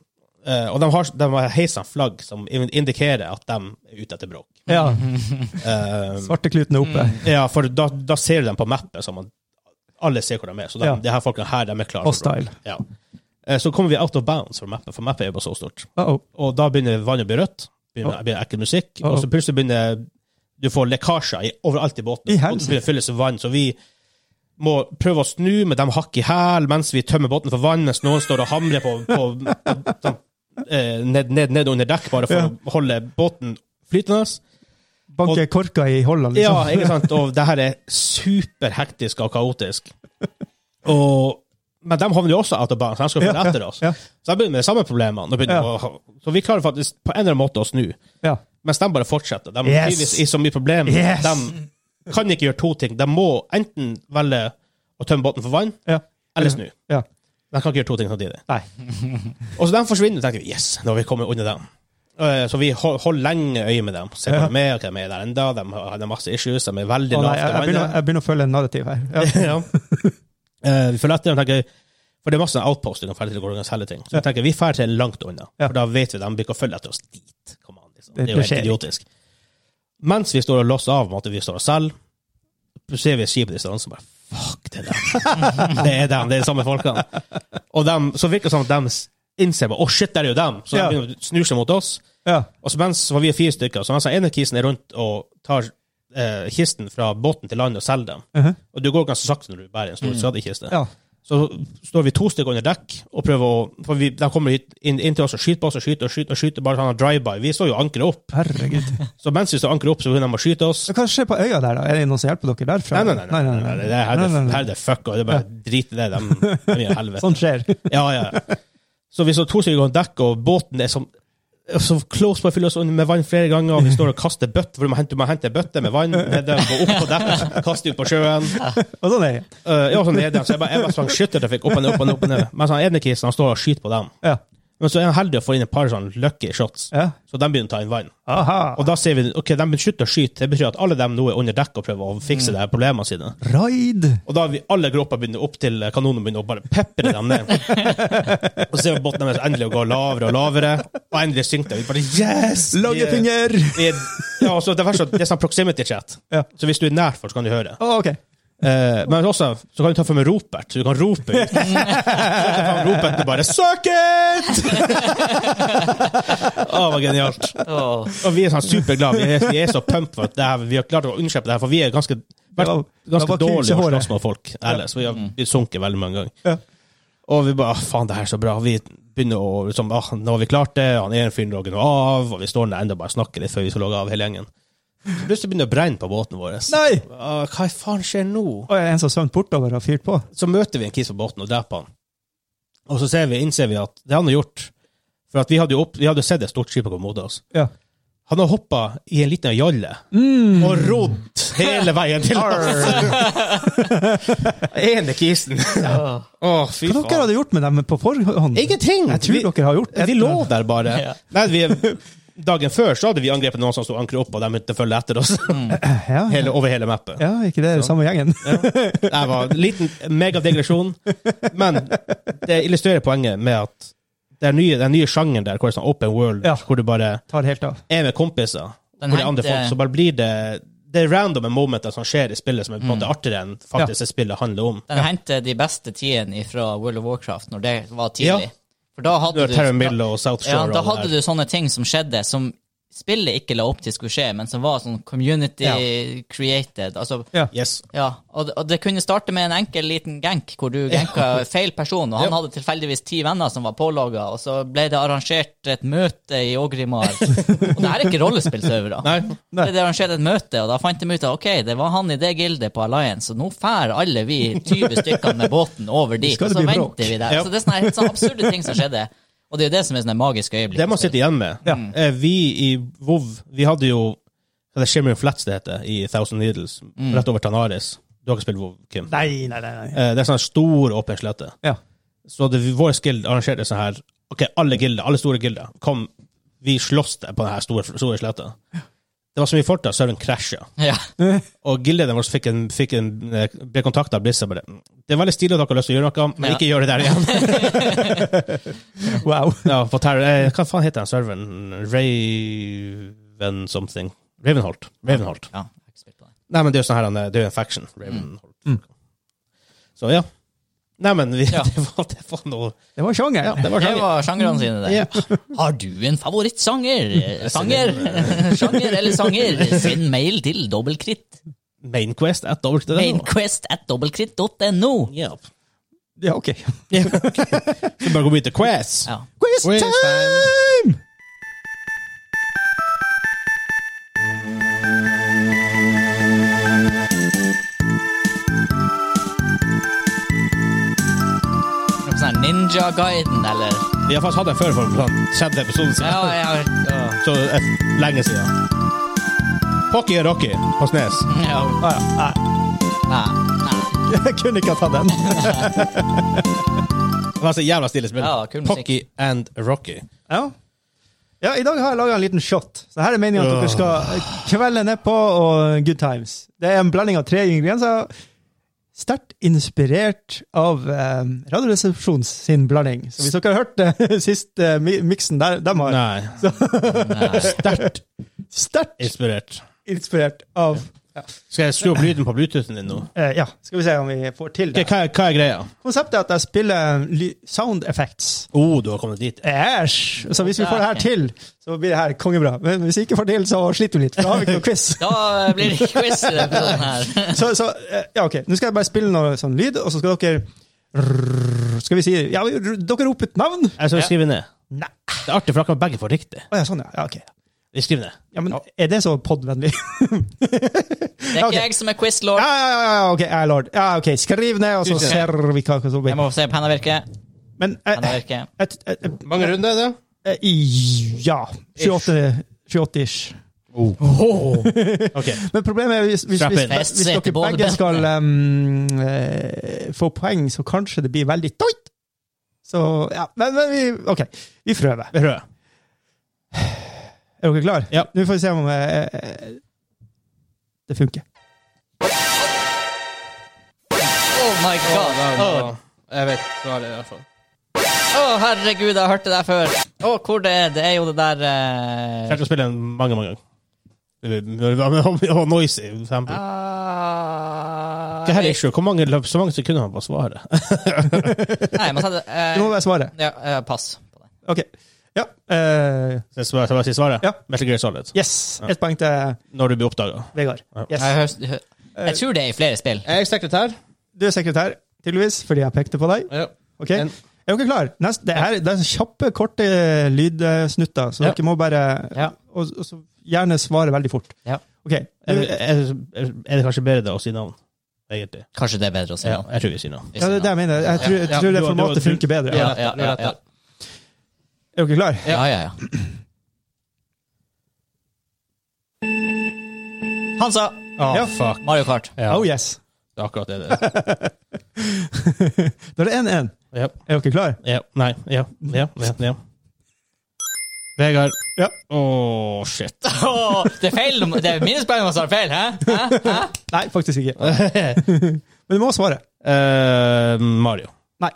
Eh, og de har, de har heisa flagg som indikerer at de er ute etter (laughs) bråk. Ja, Eh, Svarte kluten er oppe. ja, for da, da ser du dem på mappet, så man, alle ser hvor de er. Så de, Ja. de her folkene her, de er klare. for Hostile. bråk. Ja. Eh, Så kommer vi out of bounds fra mappet, for mappet er jo bare så stort. Uh -oh. Og da begynner vannet å bli rødt, begynner, begynner ekkel musikk, og så plutselig begynner du får lekkasjer i, overalt i båten, I og det helsike. begynner å fylles med vann, så vi må prøve å snu med dem hakk i hæl mens vi tømmer båten for vann, mens noen står og hamrer på, på, på sånn, eh, ned, ned, ned under dekk, bare for Ja. å holde båten flytende. Banker korker i Holland, liksom. Ja, ikke sant? Og det her er superhektisk og kaotisk. Og, men de havner jo også out of bounds, så de skal følge etter oss. Ja. Så jeg begynner med de samme problemene. og begynner Ja. å- så vi klarer faktisk på en eller annen måte å snu, ja. mens de bare fortsetter. De Yes. yes. i så mye problem. Yes. De kan ikke gjøre to ting. De må enten velge å tømme båten for vann, ja. eller snu. ja. De kan ikke gjøre to ting samtidig. Nei. Og så de forsvinner, tenker vi yes, nå har vi kommet under dem. Eh, Så vi hol- holder lenge øye med dem. Se hva de er, hva de er der enda. De har de har masse issues, de er veldig Å, nei, lavt. i jeg, jeg, vannet. begynner, jeg begynner å følge en narrativ her. Ja. (laughs) ja. Eh, vi følger etter og tenker For det er masse outposter når ferdig til Gorgongas heller ting. Så jeg tenker, vi drar til langt unna, Ja. for da vet vi dem blir ikke å følge etter oss dit. Come on, liksom. Det- Det er jo det skjer helt idiotisk. Mens vi står og losser av med at vi står og selger, så ser vi et skip i distansen og bare Fuck, det er dem. (laughs) det er dem, det er de samme folkene. Og dem, så virker det som at de innser bare Å, shit, der er jo dem. Så Ja. de begynner å snu seg mot oss. Ja. Og så mens var vi fire stykker, så han sa ene kisen er rundt og tar eh, kisten fra båten til land og selger dem. Mhm. Mm. Og det går ganske sakte når du bærer en stor skadekiste. ja. Så står vi to stykker under dekk og prøver å For vi, de kommer hit, inn, inn til oss og skyter på oss og skyter og skyter. og skyter Bare sånn en drive-by. Vi står jo ankeret opp. Herregud. Så mens vi står ankeret opp, så begynner de å skyte oss. Så hva skjer på øya der, da? Er det noen som hjelper dere derfra? Nei, nei, nei. nei, nei, nei, Det her Nei, nei, er- nei. Sånn her er det fuck, og det er bare drit i det. De, de (laughs) er i helvete. Sånt skjer. Ja, ja. Så vi så to stykker gå en dekk, og båten er som så close på å fylle oss med vann flere ganger, og vi står og kaster bøtter, for du må hente, du må hente bøtter med vann, ned dem, gå opp på dekk, kaste ut på sjøen. Og sånn er det. Uh, ja, sånn ned dem, så jeg bare, jeg bare sånn skyttertrafikk opp og ned, opp og ned, opp og ned. Mens han ene kisen, han står og skyter på dem. Ja. Men så er han heldig å få inn et par sånn lucky shots, ja. så de begynner å ta inn vann. Aha. Og da ser vi, ok, de slutter å skyte, det betyr at alle dem nå er under dekk og prøver å fikse det her problemene sine. Raid! Og da har vi alle grupper begynner opp til kanonen begynner å bare pepre dem ned. og så er båten deres endelig å gå lavere og lavere, og endelig synker det. Vi bare yes! Vi er- Langefinger! vi er- Ja, og så det verste er at det er sånn proximity chat, Ja. så hvis du er nær folk, så kan du høre. Å, ok. Eh, men også, så kan du ta for meg Ropert, så du kan rope ut. (laughs) Så kan Ropert du bare 'Suck it!' Å, det var genialt. Åh. Og vi er sånn superglade. Vi er, vi er så pumped for at det her, vi har klart å unnslippe det her, for vi er ganske, vært, Ja, det ganske var kurs i dårlige å håret. slåss med folk ellers. Vi har vi sunket veldig mange ganger. Ja. Og vi bare «Ah, 'faen, det her er så bra'. Vi begynner å liksom, ah, 'Nå har vi klart det', han ene fyren logger nå av, og vi står der enda og bare snakker litt før vi skal logge av, hele gjengen. Så plutselig begynner det å brenne på båten vår. Nei! Ah, hva faen skjer nå? Og en som svømte bortover og fyrte på. Så møter vi en kis på båten og dreper han. Og så ser vi, innser vi at det han har gjort For at vi hadde jo opp, vi hadde sett et stort skip komme mot oss. Ja. Han har hoppa i en liten jolle Mm. og rodd hele veien til oss. Ene kisen. Å, Åh. fy Hva dere faen. hadde gjort med dem på forhånd? Ingenting! Jeg tror Vi- dere har gjort det. Vi lå der bare. Ja. Nei, (laughs) vi, dagen før så hadde vi angrepet noen som sto ankeret opp, og de begynte å følge etter oss (laughs) Ja, hele, over hele mappet. ja ikke det, det samme gjengen. Det var en liten megadigresjon, men det illustrerer poenget med at det er nye, den nye sjangeren der, hvor det er sånn open world, Ja. hvor du bare Tar helt av. er med kompiser, Den hvor det er andre henter- folk, så bare blir det det er randome momenter som skjer i spillet, som er på en måte artigere enn faktisk det spillet handler om. Den henter de beste tidene fra World of Warcraft, når det var tidlig. Ja. For da Du hadde har du, Terran Mill og South ja, Shore da og hadde det du sånne ting som skjedde, som spillet ikke la opp til skulle skje, men som var sånn community created. Altså, Ja. der. Yes. ja, og, det- og det kunne starte med en enkel liten gank, hvor du ganka feil person, og han Ja. hadde tilfeldigvis ti venner som var pålogga, og så ble det arrangert et møte (laughs) i Ågrimar. og det her er ikke rollespillsøvere. Nei. Det ble arrangert et møte, og da fant de ut at ok, det var han i det gildet på Alliance, og nå fær alle vi 20 stykkene med båten over dit, skal og det så bli venter bråk. vi der. Ja. Så det er sånne, helt sånne absurde ting som skjedde. Og det er jo det som er sånne magiske øyeblikk. Det man sitter igjen med. Eh, Vi i WoW, vi hadde jo hva det er Shimmer of Flats det heter, i Thousand Needles, Mm. rett over Tanaris. Du har ikke spilt WoW, Kim? Nei, nei, nei. nei. Eh, Det er sånn stor åpen slette. Ja. Så det, vår guild arrangerte sånn her Ok, alle gilder, alle store gilder, kom, vi slåss der på denne store, store sletta. Det var så mye folk der, serveren krasja. Ja. Og gildene våre fikk en, fikk en, eh, ble kontakta av Blizzard. bare, Det er veldig stilig at dere har lyst til å gjøre noe, men Ja. ikke gjør det der igjen. Wow. ja, på Terra- eh, hva faen heter den serveren? Raven something. Ravenholt. Ravenholt. ja. jeg har ikke spilt på det. Nei, men det er jo sånn her, han, eh, det er jo en faction. Mm. Ravenholt. Så ja. Nei, men vi, Ja. (laughs) det, var, det var noe Det var sjanger. Ja, det var sånn- Det sjanger. var sjangrene sine, det. Ja. (laughs) Har du en favorittsanger? Eh, Sanger? (laughs) Sjanger eller sanger? Send mail til dobbeltkritt. Mainquest at dobbelt det der nå. Mainquest at dobbeltkritt.no. Yep. Ja, ok. Så bare gå videre til Quest. Ja. Quiz Quiz time! Noe sånn Ninja-guiden, eller? Vi har faktisk hatt den før for sånn 30 episoder siden. Ja, ja, ja. Så eh, lenge siden. Pocky og Rocky på Snes. (laughs) ja. Ah, ja. Nei, nei. Nei, jeg kunne ikke ha (laughs) tatt den. Det var så jævla stille spill. Ja, kul musikk. Pocky and Rocky. Ja. ja, i dag har jeg laga en liten shot. Så her er meningen at dere skal kvelde nedpå og good times. Det er en blanding av tre ingredienser. Sterkt inspirert av eh, Radioresepsjons sin blanding. Så hvis dere har hørt eh, (laughs) sist eh, mi- miksen der, de har Nei. (laughs) Sterkt sterkt inspirert. inspirert av Skal jeg skru opp lyden på Bluetoothen din nå? eh, Ja, skal vi se om vi får til Ok, det. hva, hva er greia? Konseptet er at jeg spiller eh, ly- sound effects. Oh, du har kommet dit. Æsj! Så hvis vi får det her til, så blir det her kongebra. Men hvis vi ikke får til, så sliter vi litt. for Da har vi ikke noe quiz. Da blir det quiz i denne episoden her. Så, så eh, ja, ok. Nå skal jeg bare spille noe sånn lyd, og så skal dere Rrrr, Skal vi si Ja, vi- dere roper et navn? Jeg skal skrive ned. Nei. Det er artig, for akkurat begge får riktig. Å ja, sånn, ja. ja. Ok. Vi skriver ned. Ja, men er det så podvennlig? (laughs) Det er Ok. ikke jeg som er quiz-lord. Ja, ja, ja, ja, ok, ja, lord. Ja, ok, Skriv ned, og så Tusen. ser vi hva hva som Jeg blir. må få se penna virke. Men eh, Penna virke. et, et, et, Mange runder er det? eh, i- Ja. 28 28-ish. Ok. Men problemet er hvis, hvis, Strap hvis, in. hvis, Fest, sete, dere bål, begge bente. skal um, eh, få poeng, så kanskje det blir veldig toit. Så ja, men, men vi OK, vi prøver. Vi prøver. Er dere klar? Ja. Nå får vi se om eh, det funker. Oh my god. Å, Jeg vet svaret i hvert fall. Å, herregud, jeg har hørt det der før. Å, hvor det er? Det er jo det der eh, Jeg skal spille den mange, mange ganger. (laughs) Og noisy, for eksempel. ah, Hva er issue? Hvor mange, løp- så mange sekunder har han på svaret? Nei, man sa det Det må eh, være svaret. Ja, eh, pass. på det. OK. Ja. eh, Så jeg skal bare si svaret? Ja. Metal Gear Solid. yes. Ett poeng til Når du blir oppdaga. Vegard. Ja. Jeg, Yes. høres- hø- jeg tror det er i flere spill. Jeg er sekretær. Du er sekretær, tydeligvis, fordi jeg pekte på deg. Ja. Ok? En- Er dere klar? Neste, det, er, det er kjappe, korte lydsnutter, eh, så Ja. dere må bare Ja. og, og så gjerne svare veldig fort. Ja. Ok. Er, er, er det kanskje bedre da å si navn, egentlig? Kanskje det er bedre å si Ja, nå. jeg tror vi sier navn. Ja, det er det jeg mener. Jeg tror, jeg Ja, du tror har- det du har- formatet du- funker bedre. Ja, ja, ja, ja. Er dere klar? Ja, ja, ja. Hansa! Ah, Ja. fuck. Mario Kart. Ja, Oh yes. det er akkurat det det er. Da er det 1-1. Ja. Er dere klar? Ja. Nei. Ja. Ja. Ja. ja. Vegard. Ja. Å, shit. Åh, det er feil! Det er minuspoeng om man svarer feil, hæ? hæ? hæ? Nei, (laughs) faktisk ikke. Men du må svare. Eh, Mario. Nei.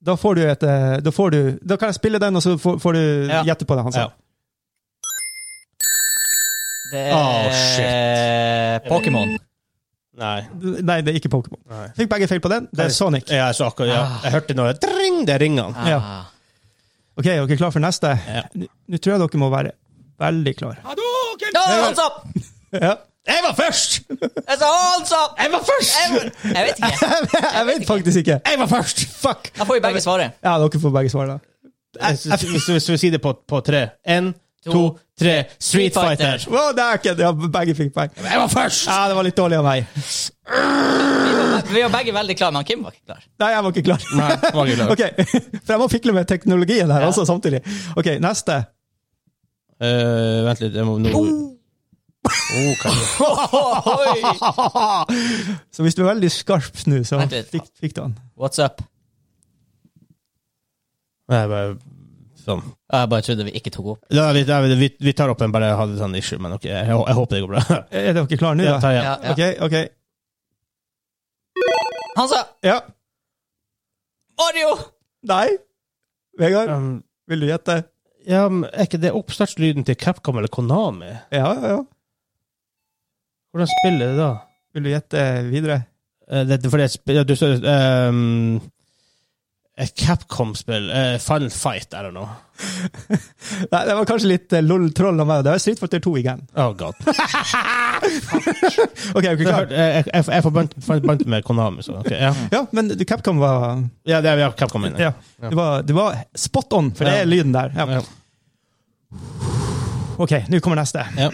Da får du et eh, Da, får du, da kan jeg spille den, og så får, får du Ja. gjette på det han sa. Ja. Åh, shit. eh, Pokémon. Nei. Nei, det er ikke Pokémon. Nei. Fikk begge feil på den. Det er Sonic. Ja, jeg så akkurat, ja. Ah. Jeg hørte noe dring, det er ringene. Ah. Ja. Ok, er dere klar for neste? Ja. Nå nå tror jeg dere må være veldig (laughs) klare. Å, hands up! Ja. Jeg var først! Jeg sa hands up! Jeg var først! Jeg, jeg vet ikke. Jeg vet faktisk ikke. Jeg var først! Fuck! Da får vi begge svare. Ja, dere får begge svare, da. Hvis hvis- hvis- hvis vi sier det på, på tre. En, to, tre. Street Fighter. Wow, det er ikke Ja, begge fikk poeng. Jeg var først! Ja, det var litt dårlig av meg. Vi var begge veldig klare, men Kim var ikke klar. Nei, jeg var ikke klar. Nei, det var ikke lov. Ok, (laughs) For jeg må fikle med teknologien her Ja. også samtidig. Ok, neste. (laughs) Eh, vent litt, jeg må nå oh, kan du- Oi. Så hvis du er veldig skarp nå, så Vent litt. fikk, fikk du den. What's up? Nei, jeg bare sånn. Jeg bare trodde vi ikke tok opp. Da, er vi, da, er vi, vi tar opp en bare jeg hadde sånn issue, men ok, jeg, jeg, håper det går bra. Er dere klare nå, (laughs) Ja, da? ta igjen. Ja, ja. Ok, ok. Han sa Ja. Oreo! Nei. Vegard, Um, vil du gjette? ja, men er ikke det oppstartslyden til Capcom eller Konami? Ja, ja, ja. Hvordan spiller det da? Vil du gjette videre? Eh, Det, det- for det er sp- ja, du så ehm, Et Capcom-spill. eh, Final Fight, I don't know. Nei, det var kanskje litt eh, lol-troll av meg. Det var Street Fighter 2 igjen. Oh god. Ok, er Jeg, dere klare? hørte- jeg, jeg, jeg forbandte forbandte med Konami, så ok. Ja, Ja, men Capcom var ja det er ja, Capcom inne. Ja, det var, det var spot on, for det Ja. er lyden der. Ja. Ja. Ok, nå kommer neste. Ja.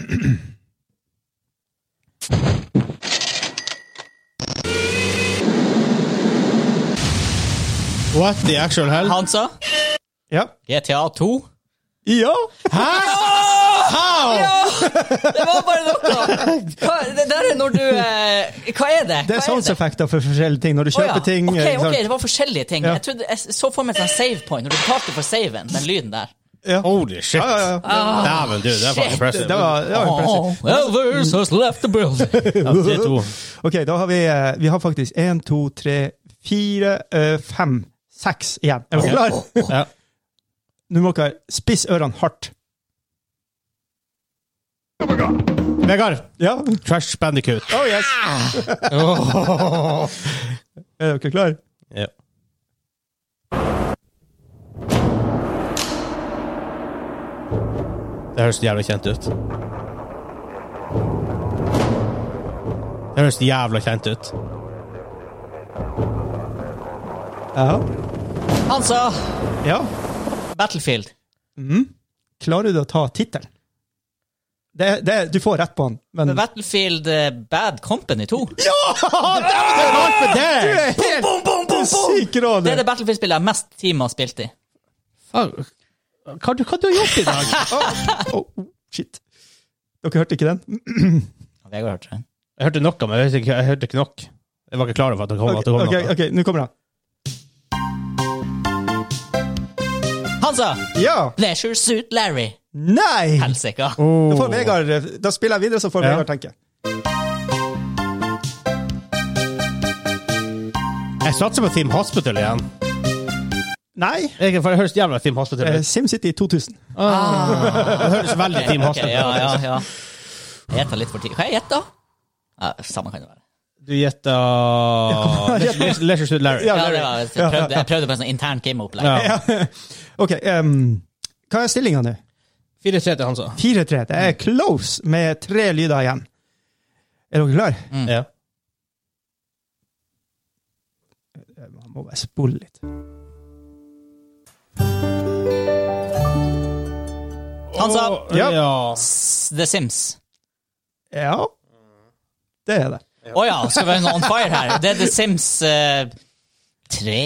What the actual hell? Han sa Ja. GTA 2. Ja! Det var bare noe! Hva, det der er når du eh, Hva er det? Hva Det er sånn soundseffekter for forskjellige ting. Når du Å, kjøper ting Ok, eh, ok, sånn. det var forskjellige ting. Ja. Jeg, trodde, jeg så for meg en sånn save point når du betalte for saven. Den lyden der. Holy shit. Ja, ja, ja. Dæven, du, det er Shit. faktisk impressive. Det var, Ah. det var impressive. Elvis has left the building. Ja, tre, to. Ok, da har vi, eh, vi har faktisk én, to, tre, fire, eh, fem, seks igjen. Er dere klare? Ja. Nå må dere spisse ørene hardt. Vegard, Ja. Trash Bandicoot. Oh yes! Er dere klare? Ja. Det høres jævlig kjent ut. Det høres jævla kjent ut. Ja. Han sa ja. Battlefield. Klarer du å ta tittelen? Det, det, du får rett på den, men Battlefield eh, Bad Company 2. Du er helt syk rå, du! Det er det Battlefield-spillet jeg har mest timer spilt i. Fuck. Hva, du- hva du har gjort i dag? Oh, oh, shit. Dere hørte ikke den? Vegard hørte den. Jeg hørte noe, men jeg hørte ikke, jeg hørte ikke nok. Jeg var ikke klar over at det kom, at det kom ok, noe. ok, nå kommer den. Han sa Ja! Pleasure Suit Larry. Nei! Helsika. Oh. Da, får Vegard, eh, da spiller jeg videre, så får Ja. Vegard tenke. Jeg satser på Team Hospital igjen. Nei! Jeg, for det høres jævla Team Hospital eh, ut. SimCity 2000. Det høres veldig Team Ok, Hospital ja, ut. ja, ja. Jeg gjetta litt for tidlig. Hva jeg gjetta? Ja, samme kan det være. Du gjetter Leisure Suit Larry. Ja, Ja, Larry. det var, jeg, prøvde, jeg prøvde på en sånn intern game-opplegg. Ja. Ok, ehm, hva er stillinga nå? 4-3 til Hansa. 4-3. Det er close med tre lyder igjen. Er dere klare? Ja. Man må bare spole litt. Hansa, Åh, ja. The Sims. Ja. Det er det. Å ja, skal vi ha noe on fire her? Det er The Sims eh, 3.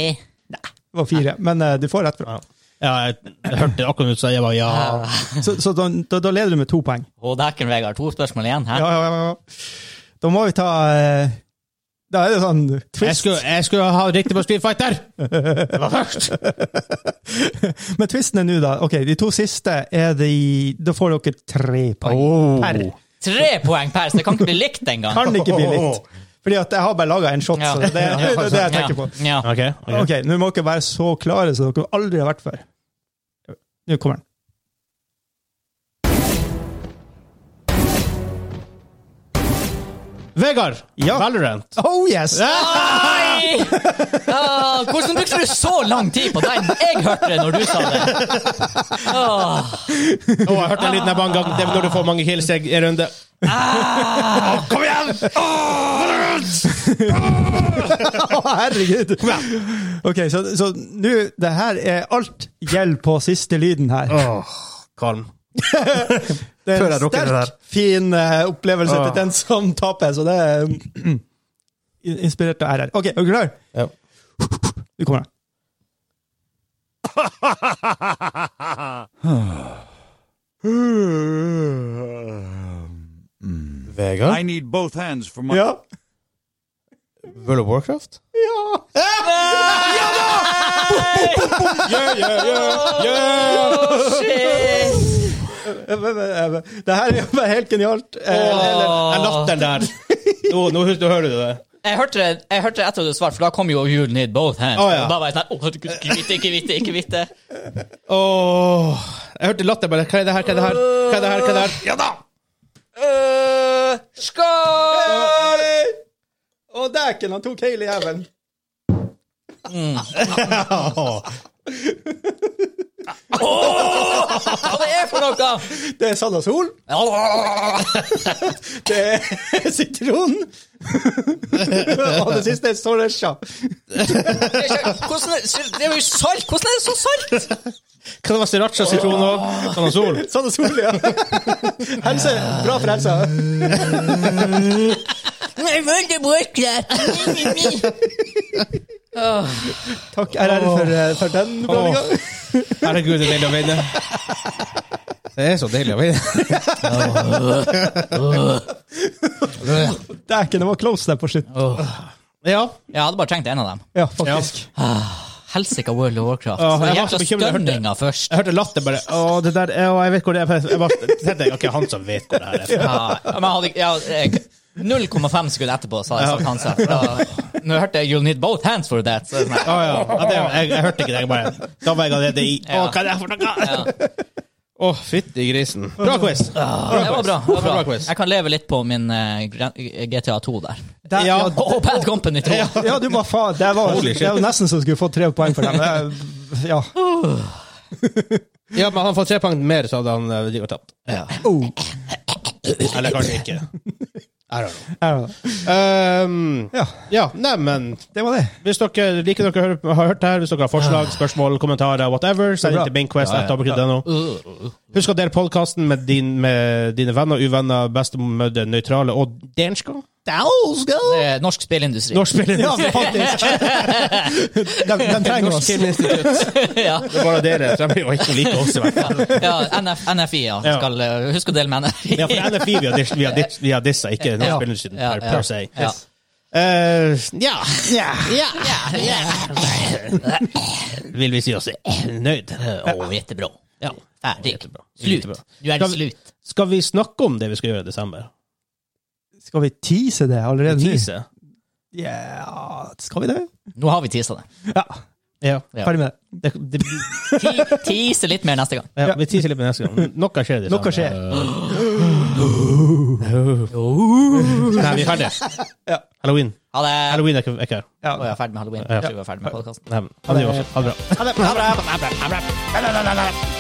Det var fire, men eh, du får rett fra. ja, jeg jeg hørte akkurat du sa jeg var ja. Så, så da, da, da leder du med to poeng. Og dæken, Vegard. To spørsmål igjen. Her. Ja, ja, ja, ja. Da må vi ta eh, Da er det sånn Jeg twist. skulle, jeg skulle ha riktig på Street Fighter! Det var (laughs) først! Men twisten er nå, da. Ok, De to siste er de Da får dere tre poeng. Oh. Per. Tre poeng per, så det kan ikke bli likt engang. Kan ikke bli likt. Fordi at jeg har bare laga en shot, Ja. så det, det er det jeg tenker på. Ja. Ok. ok. Ok, Nå må dere være så klare som dere aldri har vært før. Nå kommer den. Vegard! Ja. Valorant. Oh yes! Nei! Ah, hvordan brukte du så lang tid på den? Jeg hørte det når du sa det. Åh, Å, jeg hørte den lyden her mange ganger. Det er når du får mange kills i en runde. ah. Kom igjen! (laughs) Å, herregud! Ok, så så nå Det her er alt gjeld på siste lyden her. Kalm. Det er Før jeg en rocker det sterk, fin eh, opplevelse Åh. til den som taper, så det er mm, inspirert av RR. Ok, er du klar? Ja. Du kommer her. Vegard? I need both hands for my Ja. World of Warcraft? Yeah, yeah, yeah, yeah. Shit! (laughs) Det her er jo bare helt genialt. Eh, eller- Jeg latter der. (laughs) Nå, nå, hus- nå hører du det. Jeg hørte det jeg hørte det etter at du svarte, for da kom jo 'You need both hands'. Å, ja. Og da var jeg sånn «Åh, Gud, Ikke vite, ikke vite, ikke (laughs) vite. Åh, jeg hørte latter bare. Hva er det her, hva er det her? Hva er det her, hva er det her? Ja da! Øh, skål! Hey! Å, dæken, han tok hele jævelen. Hva det er for noe? Det er Sanda Sol. Det er (laughs) sitron. Og det siste er Soresha. Det er ikke- Hvordan er, det er jo salt! Hvordan er det så salt? Hva det var sriracha, sitron og sånn og sol? Sanda Sol, ja. (laughs) Helse. Bra for helsa. Jeg vil ikke bruke det! Takk, RR, for, eh, for den blandinga. Åh, Herregud, det er deilig å vinne. Det er så deilig å vinne. Dæken, det var close der på slutten. Ja. Jeg hadde bare trengt en av dem. Ja, faktisk. Helsika World of Warcraft. Åh, jeg Den var jævla så bekymret, jeg hørte- stønninga først. Jeg hørte latter bare. Åh, det der, åh, jeg vet hvor det er. Jeg bare, tenkte, ok, han som vet hvor det her er. fra. Ja, men jeg hadde, ikke- ja, jeg- 0,5 sekunder etterpå så hadde jeg sagt hans. her, for da- Nå hørte jeg 'You'll need both hands for that'. Så, jeg sånn her, Å ja. ja det, jeg, jeg hørte ikke det. Jeg bare, da var jeg allerede i Å, hva er det for noe? Å, ja. fytti grisen. Bra quiz. Det var bra. Det Bra var bra. quiz. Jeg kan leve litt på min eh, Gran- GTA 2 der. Der, ja. Ja. Og Bad Company 2. ja, du bare faen. Det var, Holy shit. det var nesten så du skulle fått tre poeng for dem. Det er- Ja. Ja, men han fått tre poeng mer, så hadde han eh, ligget og tapt. Oh. Eller kanskje ikke. I don't know. Ja, Um, Ja, ja, neimen det var det. Hvis dere liker dere hører- har hørt det her, hvis dere har forslag, spørsmål, kommentarer, whatever, send Bra. det til Bingquest. Ja, ja. atomkritikk.no. Husk å dele podkasten med, din, med dine venner, uvenner, bestemødre, nøytrale og danska. Danska! Eh, Norsk spillindustri. Norsk Ja, spillindustri. faktisk. De, de trenger oss. (laughs) Ja. Det er bare dere. De blir jo ikke like oss, i hvert fall. Ja, NF, NFI, ja. Ja. Skal, eh, husk å dele med NFI. Ja, for NFI vi har dis- vi har dis- vi har dissa, ikke norsk Ja. spillindustri Ja, per, ja. per se. Ja. Eh, ja. Ja. ja. Vil vi si oss nøyd? Å, jättebra. Ja, ferdig. Jättebra. Slut. Jättebra. Du er Skal- slut. Skal vi snakke om det vi skal gjøre i desember? Skal vi tease det allerede nå? Tease? Ja, skal vi det? Nå har vi tisa det. Ja. Ja. Ja. Ferdig med det. Det, det, (laughs) Ti- Tease litt mer neste gang. ja, vi teaser litt på neste gang. Noe skjer. i desember. Noe skjer. Nei, vi er ferdige. Ja. Halloween. Ha det. Halloween er ikke- er ikke her. Ja. Å, jeg er ferdig med halloween. Ja. Jeg tror jeg er ferdig med podkasten. Nei, men, ha det bra. Ha det bra. Ha det. Ha det. Ha det. Ha det.